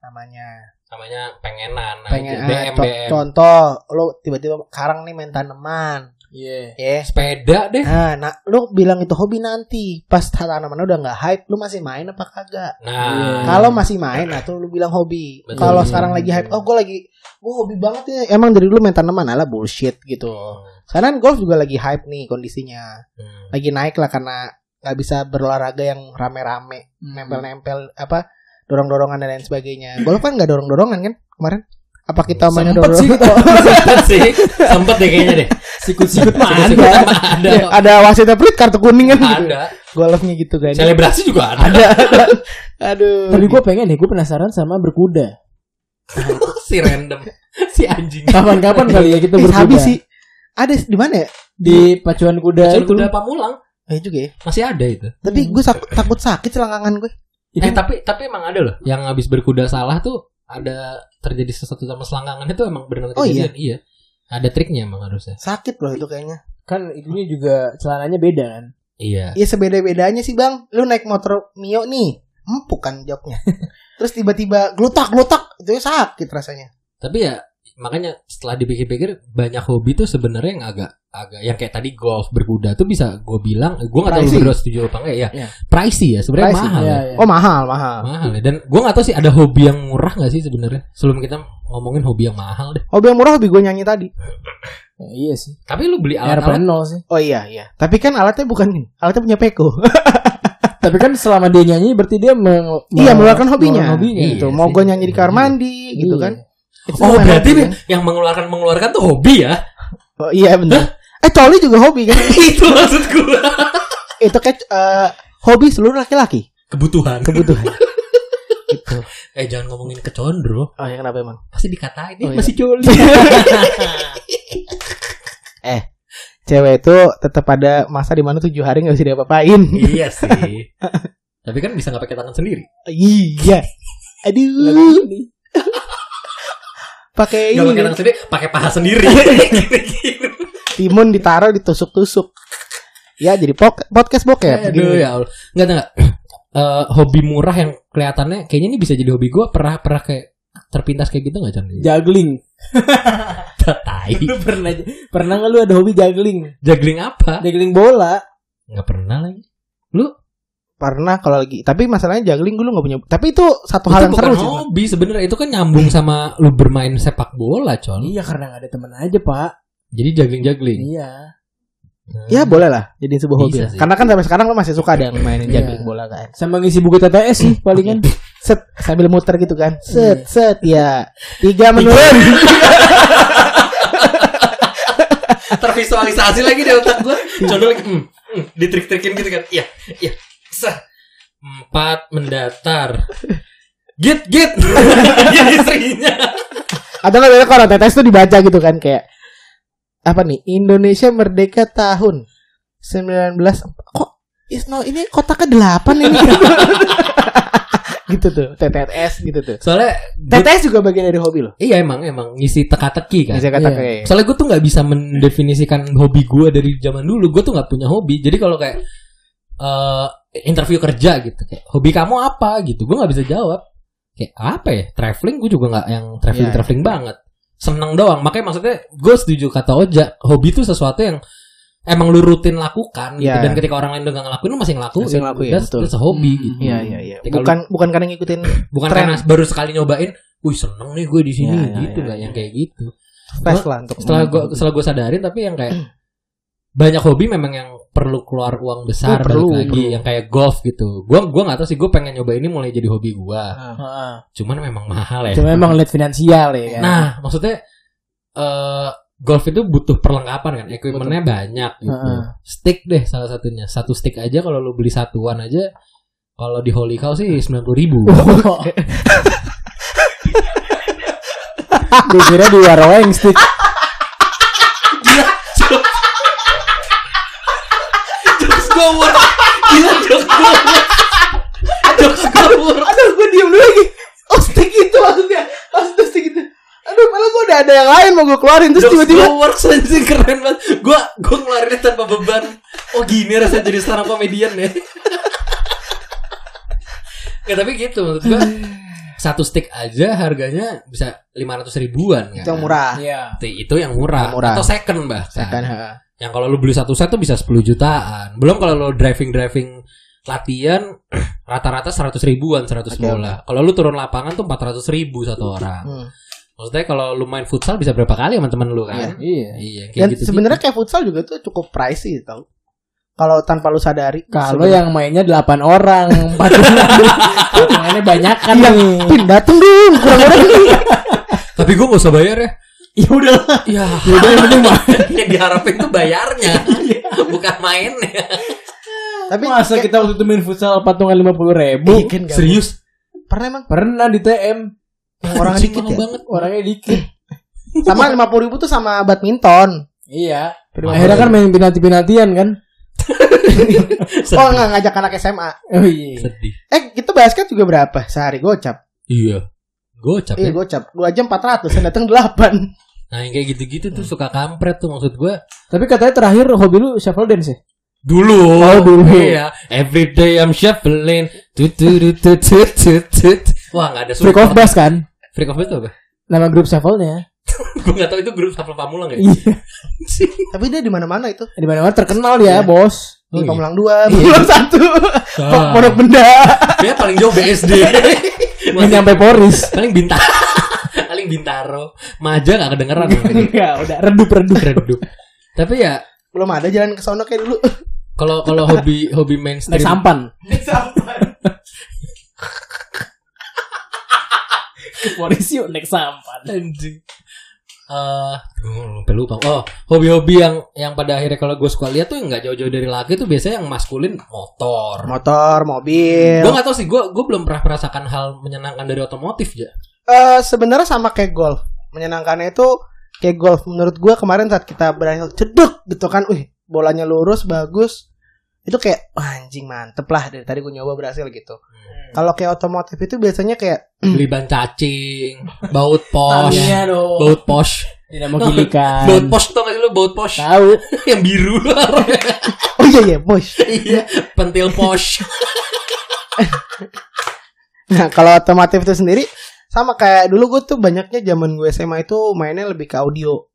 [SPEAKER 1] namanya.
[SPEAKER 2] Namanya pengenan. namanya
[SPEAKER 1] Pengen ah,
[SPEAKER 2] BM,
[SPEAKER 1] co-
[SPEAKER 2] BM.
[SPEAKER 1] contoh lu tiba-tiba sekarang nih main tanaman.
[SPEAKER 3] Iya.
[SPEAKER 1] Ya.
[SPEAKER 2] Sepeda deh.
[SPEAKER 1] Nah, nah, lu bilang itu hobi nanti pas tanaman udah nggak hype, lu masih main apa kagak?
[SPEAKER 3] Hmm.
[SPEAKER 2] Nah,
[SPEAKER 1] Kalau masih main, nah tuh lu bilang hobi.
[SPEAKER 2] Betul.
[SPEAKER 1] Kalau sekarang lagi hype, oh gue lagi, gue hobi banget ya. Emang dari dulu main tanaman ala bullshit gitu. Karena golf juga lagi hype nih kondisinya,
[SPEAKER 2] Hmm.
[SPEAKER 1] lagi naik lah karena nggak bisa berolahraga yang rame-rame, nempel-nempel apa, dorong-dorongan dan lain sebagainya. Golf kan nggak dorong-dorongan kan kemarin? Apa kita mainnya
[SPEAKER 3] Sempet sih
[SPEAKER 1] dorong?
[SPEAKER 3] kita
[SPEAKER 2] sempet sih sempet deh kayaknya deh
[SPEAKER 3] sikut-sikut mah
[SPEAKER 2] Sikut-sikut
[SPEAKER 3] ada.
[SPEAKER 2] mah ada
[SPEAKER 1] Ya, ada wasitnya pelit kartu kuning kan gitu.
[SPEAKER 2] ada
[SPEAKER 1] Golfnya gitu kan.
[SPEAKER 2] selebrasi juga ada
[SPEAKER 1] Ada. Aduh.
[SPEAKER 3] Tapi gue pengen ya, gue penasaran sama berkuda.
[SPEAKER 2] si random si anjing
[SPEAKER 3] Kapan-kapan kali ya kita
[SPEAKER 1] Eh,
[SPEAKER 3] berkuda.
[SPEAKER 1] habis sih. Ada di mana ya?
[SPEAKER 3] Di pacuan kuda
[SPEAKER 2] Pacuan
[SPEAKER 3] itu.
[SPEAKER 2] kuda pamulang
[SPEAKER 1] Eh juga ya.
[SPEAKER 2] masih ada itu
[SPEAKER 1] Tapi
[SPEAKER 3] Hmm.
[SPEAKER 1] gue takut sakit selangkangan gue.
[SPEAKER 3] Itu-
[SPEAKER 2] eh tapi tapi emang ada loh yang habis berkuda salah tuh ada terjadi sesuatu sama selangkangan itu emang benar
[SPEAKER 1] Oh, iya?
[SPEAKER 2] kejadian iya ada triknya emang harusnya
[SPEAKER 1] Sakit loh itu kayaknya.
[SPEAKER 3] Kan itunya juga celananya beda kan.
[SPEAKER 2] iya
[SPEAKER 1] Iya sebeda-bedanya sih bang. Lu naik motor Mio nih. Empuk kan joknya. Terus tiba-tiba glutak-glutak. Itu ya sakit rasanya.
[SPEAKER 2] tapi ya makanya setelah dipikir-pikir banyak hobi tuh sebenarnya yang agak agak yang kayak tadi golf berkuda tuh bisa gue bilang gue nggak tahu lu
[SPEAKER 1] Pricey.
[SPEAKER 2] berdua setuju apa enggak ya
[SPEAKER 1] Iya.
[SPEAKER 2] pricey ya sebenarnya
[SPEAKER 1] Pricey,
[SPEAKER 2] mahal ya.
[SPEAKER 3] Iya, iya.
[SPEAKER 1] Oh mahal, mahal.
[SPEAKER 2] mahal ya. dan gue nggak tahu sih ada hobi yang murah nggak sih sebenarnya sebelum kita ngomongin hobi yang mahal deh
[SPEAKER 1] Hobi yang Oh, murah hobi gue nyanyi tadi.
[SPEAKER 3] Ya, iya sih.
[SPEAKER 2] tapi lu beli alat-alat
[SPEAKER 3] Airplane nol sih.
[SPEAKER 1] Oh iya, iya. Tapi kan alatnya bukan ini. Alatnya punya peko.
[SPEAKER 3] Tapi kan selama dia nyanyi berarti dia meng-
[SPEAKER 1] iya,
[SPEAKER 3] meng-
[SPEAKER 1] mengeluarkan hobinya.
[SPEAKER 3] mengeluarkan hobinya.
[SPEAKER 2] Iya
[SPEAKER 1] Gitu.
[SPEAKER 2] sih.
[SPEAKER 1] Mau gue nyanyi di kamar
[SPEAKER 2] Iya.
[SPEAKER 1] mandi gitu
[SPEAKER 3] Iya.
[SPEAKER 1] kan. Itu
[SPEAKER 2] oh
[SPEAKER 1] lumayan
[SPEAKER 2] berarti
[SPEAKER 1] hobi, kan?
[SPEAKER 3] ya.
[SPEAKER 2] yang mengeluarkan mengeluarkan tuh hobi ya
[SPEAKER 1] Oh, iya benar. Eh coli juga hobi kan.
[SPEAKER 2] itu maksud gue
[SPEAKER 1] itu kayak eh, hobi seluruh laki-laki.
[SPEAKER 2] kebutuhan
[SPEAKER 1] Kebutuhan. gitu.
[SPEAKER 2] eh jangan ngomongin kecondro
[SPEAKER 1] Oh ya kenapa emang?
[SPEAKER 2] pasti dikatain
[SPEAKER 1] Oh,
[SPEAKER 2] "Ih,
[SPEAKER 1] iya.
[SPEAKER 2] masih joli
[SPEAKER 1] Cewek itu tetap ada masa di mana tujuh hari nggak bisa diapa-apain.
[SPEAKER 2] iya sih tapi kan bisa nggak pakai tangan sendiri
[SPEAKER 1] iya. Aduh. Pakai
[SPEAKER 3] Iya.
[SPEAKER 2] nggak pakai
[SPEAKER 1] ini
[SPEAKER 2] tangan sendiri pakai paha sendiri
[SPEAKER 1] timun ditaruh ditusuk-tusuk. Ya jadi pok- podcast bokep.
[SPEAKER 2] Aduh
[SPEAKER 1] Gini.
[SPEAKER 2] ya Allah. Enggak enggak. Eh, hobi murah yang kelihatannya kayaknya ini bisa jadi hobi gue pernah pernah kayak terpintas kayak gitu nggak Chan?
[SPEAKER 3] Juggling.
[SPEAKER 2] Tai.
[SPEAKER 3] Lu pernah pernah nggak lu ada hobi juggling?
[SPEAKER 2] Juggling apa?
[SPEAKER 3] Juggling bola.
[SPEAKER 2] Nggak pernah lagi.
[SPEAKER 1] Pernah kalau lagi. Tapi masalahnya juggling gue lu nggak punya. Tapi itu satu hal
[SPEAKER 2] itu
[SPEAKER 1] yang
[SPEAKER 2] bukan
[SPEAKER 1] seru sih.
[SPEAKER 2] hobi sebenarnya itu kan nyambung sama lu bermain sepak bola, Con.
[SPEAKER 3] Iya karena nggak ada temen aja pak.
[SPEAKER 2] Jadi juggling-juggling.
[SPEAKER 3] Iya.
[SPEAKER 1] Ya boleh lah jadi sebuah
[SPEAKER 2] Bisa
[SPEAKER 1] hobi. lah.
[SPEAKER 2] sih.
[SPEAKER 1] Karena kan sampai sekarang lo masih suka ada yang mainin
[SPEAKER 3] Iya.
[SPEAKER 1] juggling bola kan.
[SPEAKER 3] Sama ngisi buku TTS sih palingan.
[SPEAKER 1] Set sambil muter gitu kan.
[SPEAKER 3] Iya.
[SPEAKER 1] Set set ya. Tiga menurun.
[SPEAKER 2] Tervisualisasi lagi di otak gue. Con lagi hmm, hmm, ditrik-trikin gitu kan. Iya, iya. Sah. Empat mendatar. Git, git. Dia istrinya.
[SPEAKER 1] Atau nggak banyak orang tetes itu dibaca gitu kan kayak apa nih Indonesia merdeka tahun 19 kok Isno ini kotaknya 8 ini gitu tuh TTS gitu tuh
[SPEAKER 2] Soalnya gua-
[SPEAKER 1] TTS juga bagian dari hobi loh
[SPEAKER 2] Iya emang emang ngisi teka-teki kan.
[SPEAKER 1] bisa kata
[SPEAKER 3] Iya.
[SPEAKER 1] kayak
[SPEAKER 2] Soalnya gue tuh nggak bisa mendefinisikan hobi gue dari zaman dulu. Gue tuh nggak punya hobi. Jadi kalau kayak eh interview kerja gitu, kayak hobi kamu apa gitu, gue nggak bisa jawab. Kayak apa ya? Traveling gue juga nggak yang
[SPEAKER 1] Iya,
[SPEAKER 2] traveling traveling banget. Seneng doang. Makanya maksudnya gue setuju kata Oja. Hobi itu sesuatu yang emang lu rutin lakukan gitu.
[SPEAKER 1] Iya.
[SPEAKER 2] Dan ketika orang lain udah nggak ngelakuin, lu masih ngelakuin.
[SPEAKER 1] Masih ngelakuin,
[SPEAKER 2] That's-
[SPEAKER 1] betul.
[SPEAKER 2] that's a hobi
[SPEAKER 3] Hmm.
[SPEAKER 2] gitu.
[SPEAKER 1] iya iya iya
[SPEAKER 2] Jadi
[SPEAKER 1] bukan bukan karena ngikutin
[SPEAKER 2] Bukan
[SPEAKER 1] Tren.
[SPEAKER 2] karena baru sekali nyobain, wih seneng nih gue di sini
[SPEAKER 1] Iya, iya,
[SPEAKER 2] gitu
[SPEAKER 1] iya,
[SPEAKER 2] nggak
[SPEAKER 1] iya.
[SPEAKER 2] yang kayak gitu
[SPEAKER 1] fast lah untuk
[SPEAKER 2] setelah gue
[SPEAKER 1] ngomongin hobi.
[SPEAKER 2] setelah gue sadarin tapi yang kayak banyak hobi memang yang perlu keluar uang besar
[SPEAKER 3] Oh, perlu,
[SPEAKER 2] balik lagi
[SPEAKER 3] perlu.
[SPEAKER 2] yang kayak golf gitu. Gua gua nggak tahu sih gue pengen nyoba ini mulai jadi hobi
[SPEAKER 3] Ah.
[SPEAKER 2] gua.
[SPEAKER 3] Heeh.
[SPEAKER 2] Cuman memang mahal ya.
[SPEAKER 3] Cuma emang lihat finansial ya kan.
[SPEAKER 2] Nah, maksudnya eh golf itu butuh perlengkapan kan, equipmentnya banyak gitu.
[SPEAKER 3] Heeh.
[SPEAKER 2] Stick deh salah satunya. Satu stick aja kalau lu beli satuan aja kalau di Holy Cow sih 90 ribu.
[SPEAKER 3] Gue kira di Waroeng stick.
[SPEAKER 2] jokes gue murah. Gila jokes gue murah. Jokes gue murah.
[SPEAKER 1] Aduh, gue diem dulu lagi. Oh, stick itu maksudnya. Maksudnya stick itu. Aduh, malah gue udah ada yang lain mau gue keluarin. Terus
[SPEAKER 2] Jokes
[SPEAKER 1] tiba-tiba.
[SPEAKER 2] gue works anjing keren banget. Gue gue ngeluarinnya tanpa beban. Oh gini rasanya jadi seorang komedian ya. Nggak tapi gitu maksud gue. Satu stick aja harganya bisa 500 ribuan kan.
[SPEAKER 1] Itu yang murah.
[SPEAKER 3] Iya.
[SPEAKER 2] Itu yang murah.
[SPEAKER 1] Yang murah.
[SPEAKER 2] Atau second bahkan.
[SPEAKER 1] Kan, ha.
[SPEAKER 2] Yang kalau lu beli satu set tuh bisa 10 jutaan. Belum kalau lu driving-driving latihan rata-rata 100 ribuan 100
[SPEAKER 1] Oke,
[SPEAKER 2] bola. Kalau lu turun lapangan tuh 400 ribu satu orang.
[SPEAKER 1] Hmm.
[SPEAKER 2] Maksudnya kalau lu main futsal bisa berapa kali sama temen lu kan?
[SPEAKER 3] Iya.
[SPEAKER 2] Iya, kayak
[SPEAKER 1] Dan
[SPEAKER 2] gitu.
[SPEAKER 1] sebenarnya kayak futsal juga tuh cukup pricey tau. Kalau tanpa lu sadari.
[SPEAKER 3] Kalau yang mainnya 8 orang, 4 orang. Mainnya banyakan
[SPEAKER 1] Iya.
[SPEAKER 3] nih.
[SPEAKER 1] Pin dateng dong kurang orang nih.
[SPEAKER 2] Tapi gue gak usah bayar ya.
[SPEAKER 3] Ya udah.
[SPEAKER 2] Ya,
[SPEAKER 3] Udah yang penting mah.
[SPEAKER 2] yang Iya. diharapin tuh bayarnya. Bukan mainnya.
[SPEAKER 1] Tapi
[SPEAKER 3] Masa
[SPEAKER 1] kayak-
[SPEAKER 3] kita waktu itu main futsal patungan 50 ribu.
[SPEAKER 1] Iya, kan, nggak-
[SPEAKER 2] Serius?
[SPEAKER 1] Pernah emang
[SPEAKER 3] Pernah di TM.
[SPEAKER 1] yang orang
[SPEAKER 2] Anjing,
[SPEAKER 1] dikit
[SPEAKER 2] mahal
[SPEAKER 1] ya.
[SPEAKER 2] banget.
[SPEAKER 3] Orangnya dikit.
[SPEAKER 1] Sama lima puluh ribu tuh sama badminton.
[SPEAKER 3] Iya. Akhirnya kan main penalti-penaltian kan.
[SPEAKER 2] Sedih.
[SPEAKER 1] Oh nggak ngajak anak SMA.
[SPEAKER 3] Oh iya.
[SPEAKER 2] Sedih.
[SPEAKER 1] Eh kita basket juga berapa sehari gocap?
[SPEAKER 2] Iya. Gocap
[SPEAKER 1] Iya
[SPEAKER 2] ya.
[SPEAKER 1] gocap. Dua jam empat ratus yang datang delapan.
[SPEAKER 2] Nah, yang kayak gitu-gitu tuh suka kampret tuh maksud gue.
[SPEAKER 3] Tapi katanya terakhir hobi lu shuffle dance ya?
[SPEAKER 2] Dulu.
[SPEAKER 3] Oh, dulu.
[SPEAKER 2] Iya. Every day I'm shuffling. Tut tut tut, tut tut tut tut. Wah, enggak ada suara.
[SPEAKER 3] Freak of Bass kan?
[SPEAKER 2] Freak of Bad tuh apa?
[SPEAKER 3] Nama grup shuffle-nya.
[SPEAKER 2] Gue enggak tahu itu grup shuffle pamulang ya.
[SPEAKER 3] Iya.
[SPEAKER 1] Tapi dia di mana-mana itu.
[SPEAKER 3] Di mana-mana terkenal ya, Bos.
[SPEAKER 1] Di
[SPEAKER 2] Oh, iya.
[SPEAKER 1] Pamulang dua, Pamulang satu,
[SPEAKER 2] Ah.
[SPEAKER 1] Pondok Benda.
[SPEAKER 2] Dia paling jauh BSD.
[SPEAKER 3] Nggak nyampe Poris.
[SPEAKER 2] paling bintaro. paling bintaro. Maja enggak kedengeran.
[SPEAKER 3] Enggak, udah redup-redup.
[SPEAKER 2] Redup. Tapi ya
[SPEAKER 1] Belum ada jalan ke sono kayak dulu.
[SPEAKER 2] kalau kalau hobi hobi mainstream
[SPEAKER 3] Naik sampan. Poris yuk naik sampan.
[SPEAKER 2] Anjing. Eh, gua sampai lupa. Oh, hobi-hobi yang yang pada akhirnya kalau gue suka lihat tuh nggak jauh-jauh dari laki tuh biasanya yang maskulin motor.
[SPEAKER 1] Motor, mobil.
[SPEAKER 2] Gue nggak tahu sih, gue gue belum pernah merasakan hal menyenangkan dari otomotif ya.
[SPEAKER 1] Eh sebenarnya sama kayak golf. Menyenangkannya itu kayak golf menurut gua kemarin saat kita berhasil cedek gitu kan, wih bolanya lurus bagus. Itu kayak "Wah, anjing mantep lah dari tadi gue nyoba berhasil gitu.
[SPEAKER 2] Iya.
[SPEAKER 1] Kalau kayak otomotif itu biasanya kayak
[SPEAKER 2] Beli ban cacing, baut pos,
[SPEAKER 3] Tamiya Oh, Iya dong.
[SPEAKER 2] baut pos,
[SPEAKER 3] Tidak mau gilikan.
[SPEAKER 2] baut pos tau gak sih lo baut pos
[SPEAKER 3] Tahu.
[SPEAKER 2] yang biru,
[SPEAKER 1] oh iya iya push.
[SPEAKER 2] iya pentil pos.
[SPEAKER 1] Nah kalau otomotif itu sendiri sama kayak dulu gue tuh banyaknya zaman gue SMA itu mainnya lebih ke audio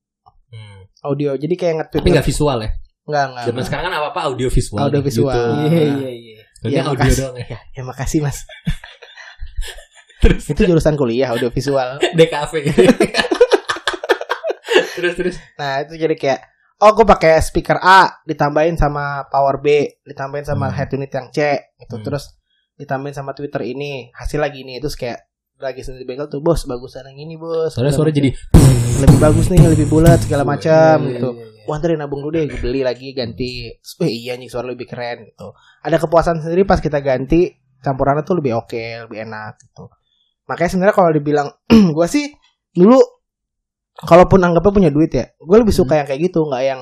[SPEAKER 2] Hmm,
[SPEAKER 1] audio jadi kayak ngetweet
[SPEAKER 2] Tapi nggak visual ya.
[SPEAKER 1] nggak
[SPEAKER 3] Ah,
[SPEAKER 1] nggak
[SPEAKER 3] nah.
[SPEAKER 2] Zaman sekarang kan apa apa audio visual.
[SPEAKER 1] Audio visual.
[SPEAKER 3] Iya iya iya.
[SPEAKER 2] Iya
[SPEAKER 1] Iya,
[SPEAKER 2] audio
[SPEAKER 1] makasih.
[SPEAKER 2] doang ya.
[SPEAKER 1] ya makasih mas
[SPEAKER 2] Terus
[SPEAKER 1] itu jurusan kuliah audio visual
[SPEAKER 2] DKV. terus terus.
[SPEAKER 1] Nah itu jadi kayak Oh gue pakai speaker A ditambahin sama power B ditambahin sama
[SPEAKER 2] Hmm.
[SPEAKER 1] head unit yang C gitu
[SPEAKER 2] Hmm.
[SPEAKER 1] terus ditambahin sama Twitter ini hasil lagi ini terus kayak lagi sendiri bengkel tuh bos bagusan yang ini bos
[SPEAKER 3] Iya,
[SPEAKER 2] Soalnya
[SPEAKER 1] Segala
[SPEAKER 2] suara jadi
[SPEAKER 1] macam. lebih bagus nih lebih bulat segala macam
[SPEAKER 2] Iya,
[SPEAKER 1] gitu
[SPEAKER 3] Iya, iya.
[SPEAKER 1] Wah ntar ya nabung dulu deh gue beli lagi ganti Terus, Eh iya nih suara lebih keren gitu Ada kepuasan sendiri pas kita ganti Campurannya tuh lebih oke Lebih enak gitu Makanya sebenarnya kalau dibilang Gue sih dulu Kalaupun anggapnya punya duit ya Gue lebih
[SPEAKER 2] Hmm.
[SPEAKER 1] suka yang kayak gitu Gak yang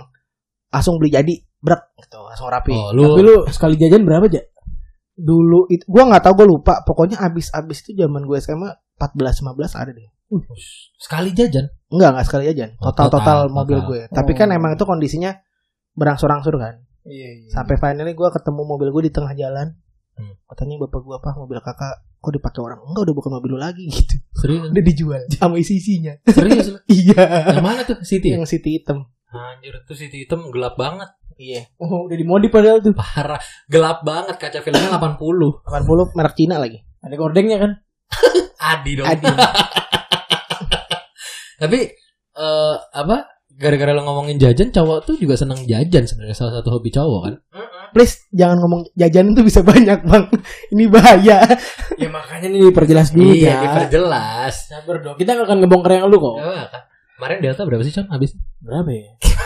[SPEAKER 1] langsung beli jadi Brek gitu Langsung rapi
[SPEAKER 2] Oh, lu,
[SPEAKER 3] Tapi lu sekali jajan berapa, Ja?
[SPEAKER 1] Dulu itu Gue gak tahu gue lupa Pokoknya abis-abis itu zaman gue SMA 14-15 ada deh
[SPEAKER 2] sekali jajan.
[SPEAKER 1] Enggak enggak sekali aja
[SPEAKER 2] Oh,
[SPEAKER 1] Total-total
[SPEAKER 2] total,
[SPEAKER 1] mobil
[SPEAKER 2] total.
[SPEAKER 1] gue Tapi kan
[SPEAKER 3] Oh.
[SPEAKER 1] emang itu kondisinya Berangsur-angsur kan
[SPEAKER 3] Iya iya.
[SPEAKER 1] Sampai finally gue ketemu mobil gue di tengah jalan.
[SPEAKER 2] Hmm.
[SPEAKER 1] Katanya bapak gue apa mobil kakak kok dipakai orang enggak udah bukan mobil lu lagi gitu.
[SPEAKER 2] Serius.
[SPEAKER 1] Udah dijual sama isi isinya.
[SPEAKER 2] Serius. lu?
[SPEAKER 1] iya.
[SPEAKER 2] Yang mana tuh City?
[SPEAKER 1] Yang City hitam.
[SPEAKER 2] Anjir tuh City hitam gelap banget.
[SPEAKER 1] Iya.
[SPEAKER 3] Oh, udah dimodif padahal tuh.
[SPEAKER 2] Parah. Gelap banget kaca filmnya 80.
[SPEAKER 1] 80 merek Cina lagi.
[SPEAKER 3] Ada gordengnya kan?
[SPEAKER 2] Adi dong.
[SPEAKER 1] Aduh.
[SPEAKER 2] Tapi eh apa? gara-gara lo ngomongin jajan, cowok tuh juga seneng jajan sebenarnya salah satu hobi cowok kan.
[SPEAKER 1] Please jangan ngomong jajan itu bisa banyak bang. Ini bahaya.
[SPEAKER 3] ya makanya ini diperjelas dulu
[SPEAKER 2] iya,
[SPEAKER 3] ya.
[SPEAKER 2] diperjelas.
[SPEAKER 3] Sabar dong. Kita gak akan ngebongkar yang lu kok.
[SPEAKER 2] Nah, kemarin Delta berapa sih, Con? Habis.
[SPEAKER 3] Berapa ya?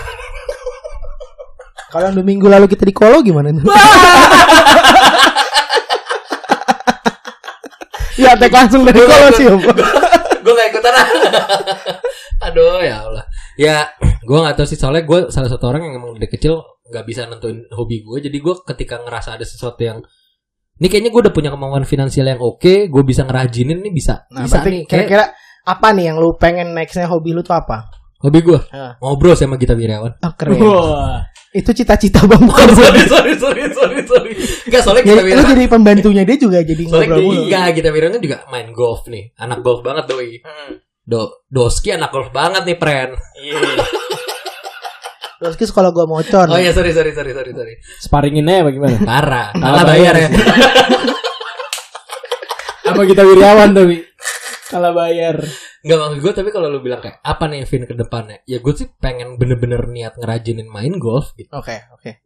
[SPEAKER 1] Kalau dua minggu lalu kita di kolo gimana? tuh? ya tek langsung dari kolo sih. Om.
[SPEAKER 2] gue gak ikutan ah. Aduh, ya Allah. Ya, gue gak tahu sih soalnya gue salah satu orang yang emang dari kecil gak bisa nentuin hobi gue. Jadi gue ketika ngerasa ada sesuatu yang ini kayaknya gue udah punya kemauan finansial yang oke, gue bisa ngerajinin nih bisa.
[SPEAKER 1] Nah,
[SPEAKER 2] bisa
[SPEAKER 1] berarti
[SPEAKER 2] nih, kayak
[SPEAKER 1] kira-kira apa nih yang lu pengen nextnya hobi lu tuh apa?
[SPEAKER 2] hobi gue
[SPEAKER 1] Ah.
[SPEAKER 2] ngobrol sama Gita Wirawan.
[SPEAKER 1] Ah, keren.
[SPEAKER 3] Wah.
[SPEAKER 1] Itu cita-cita bang bukan.
[SPEAKER 2] sorry, sorry, sorry, sorry, sorry. Enggak soalnya
[SPEAKER 1] Jadi,
[SPEAKER 2] Gita
[SPEAKER 1] lu
[SPEAKER 2] Wirawan.
[SPEAKER 1] jadi pembantunya dia juga jadi
[SPEAKER 2] Soalnya
[SPEAKER 1] ngobrol mulu.
[SPEAKER 2] Gita, Gita Wirawan kan juga main golf nih, anak golf banget doi. Do, doski anak golf banget nih, pren.
[SPEAKER 1] Terus kis kalau gua mocor.
[SPEAKER 2] Oh ya, sorry, sorry, sorry, sorry, sorry.
[SPEAKER 3] Sparingin aja bagaimana?
[SPEAKER 2] Parah, kalah bayar ya.
[SPEAKER 3] Apa kita Wiryawan tapi kalah bayar.
[SPEAKER 2] Enggak maksud gue tapi kalau lu bilang kayak apa nih Vin ke depannya? Ya gue sih pengen bener-bener niat ngerajinin main golf gitu.
[SPEAKER 1] Oke, oke.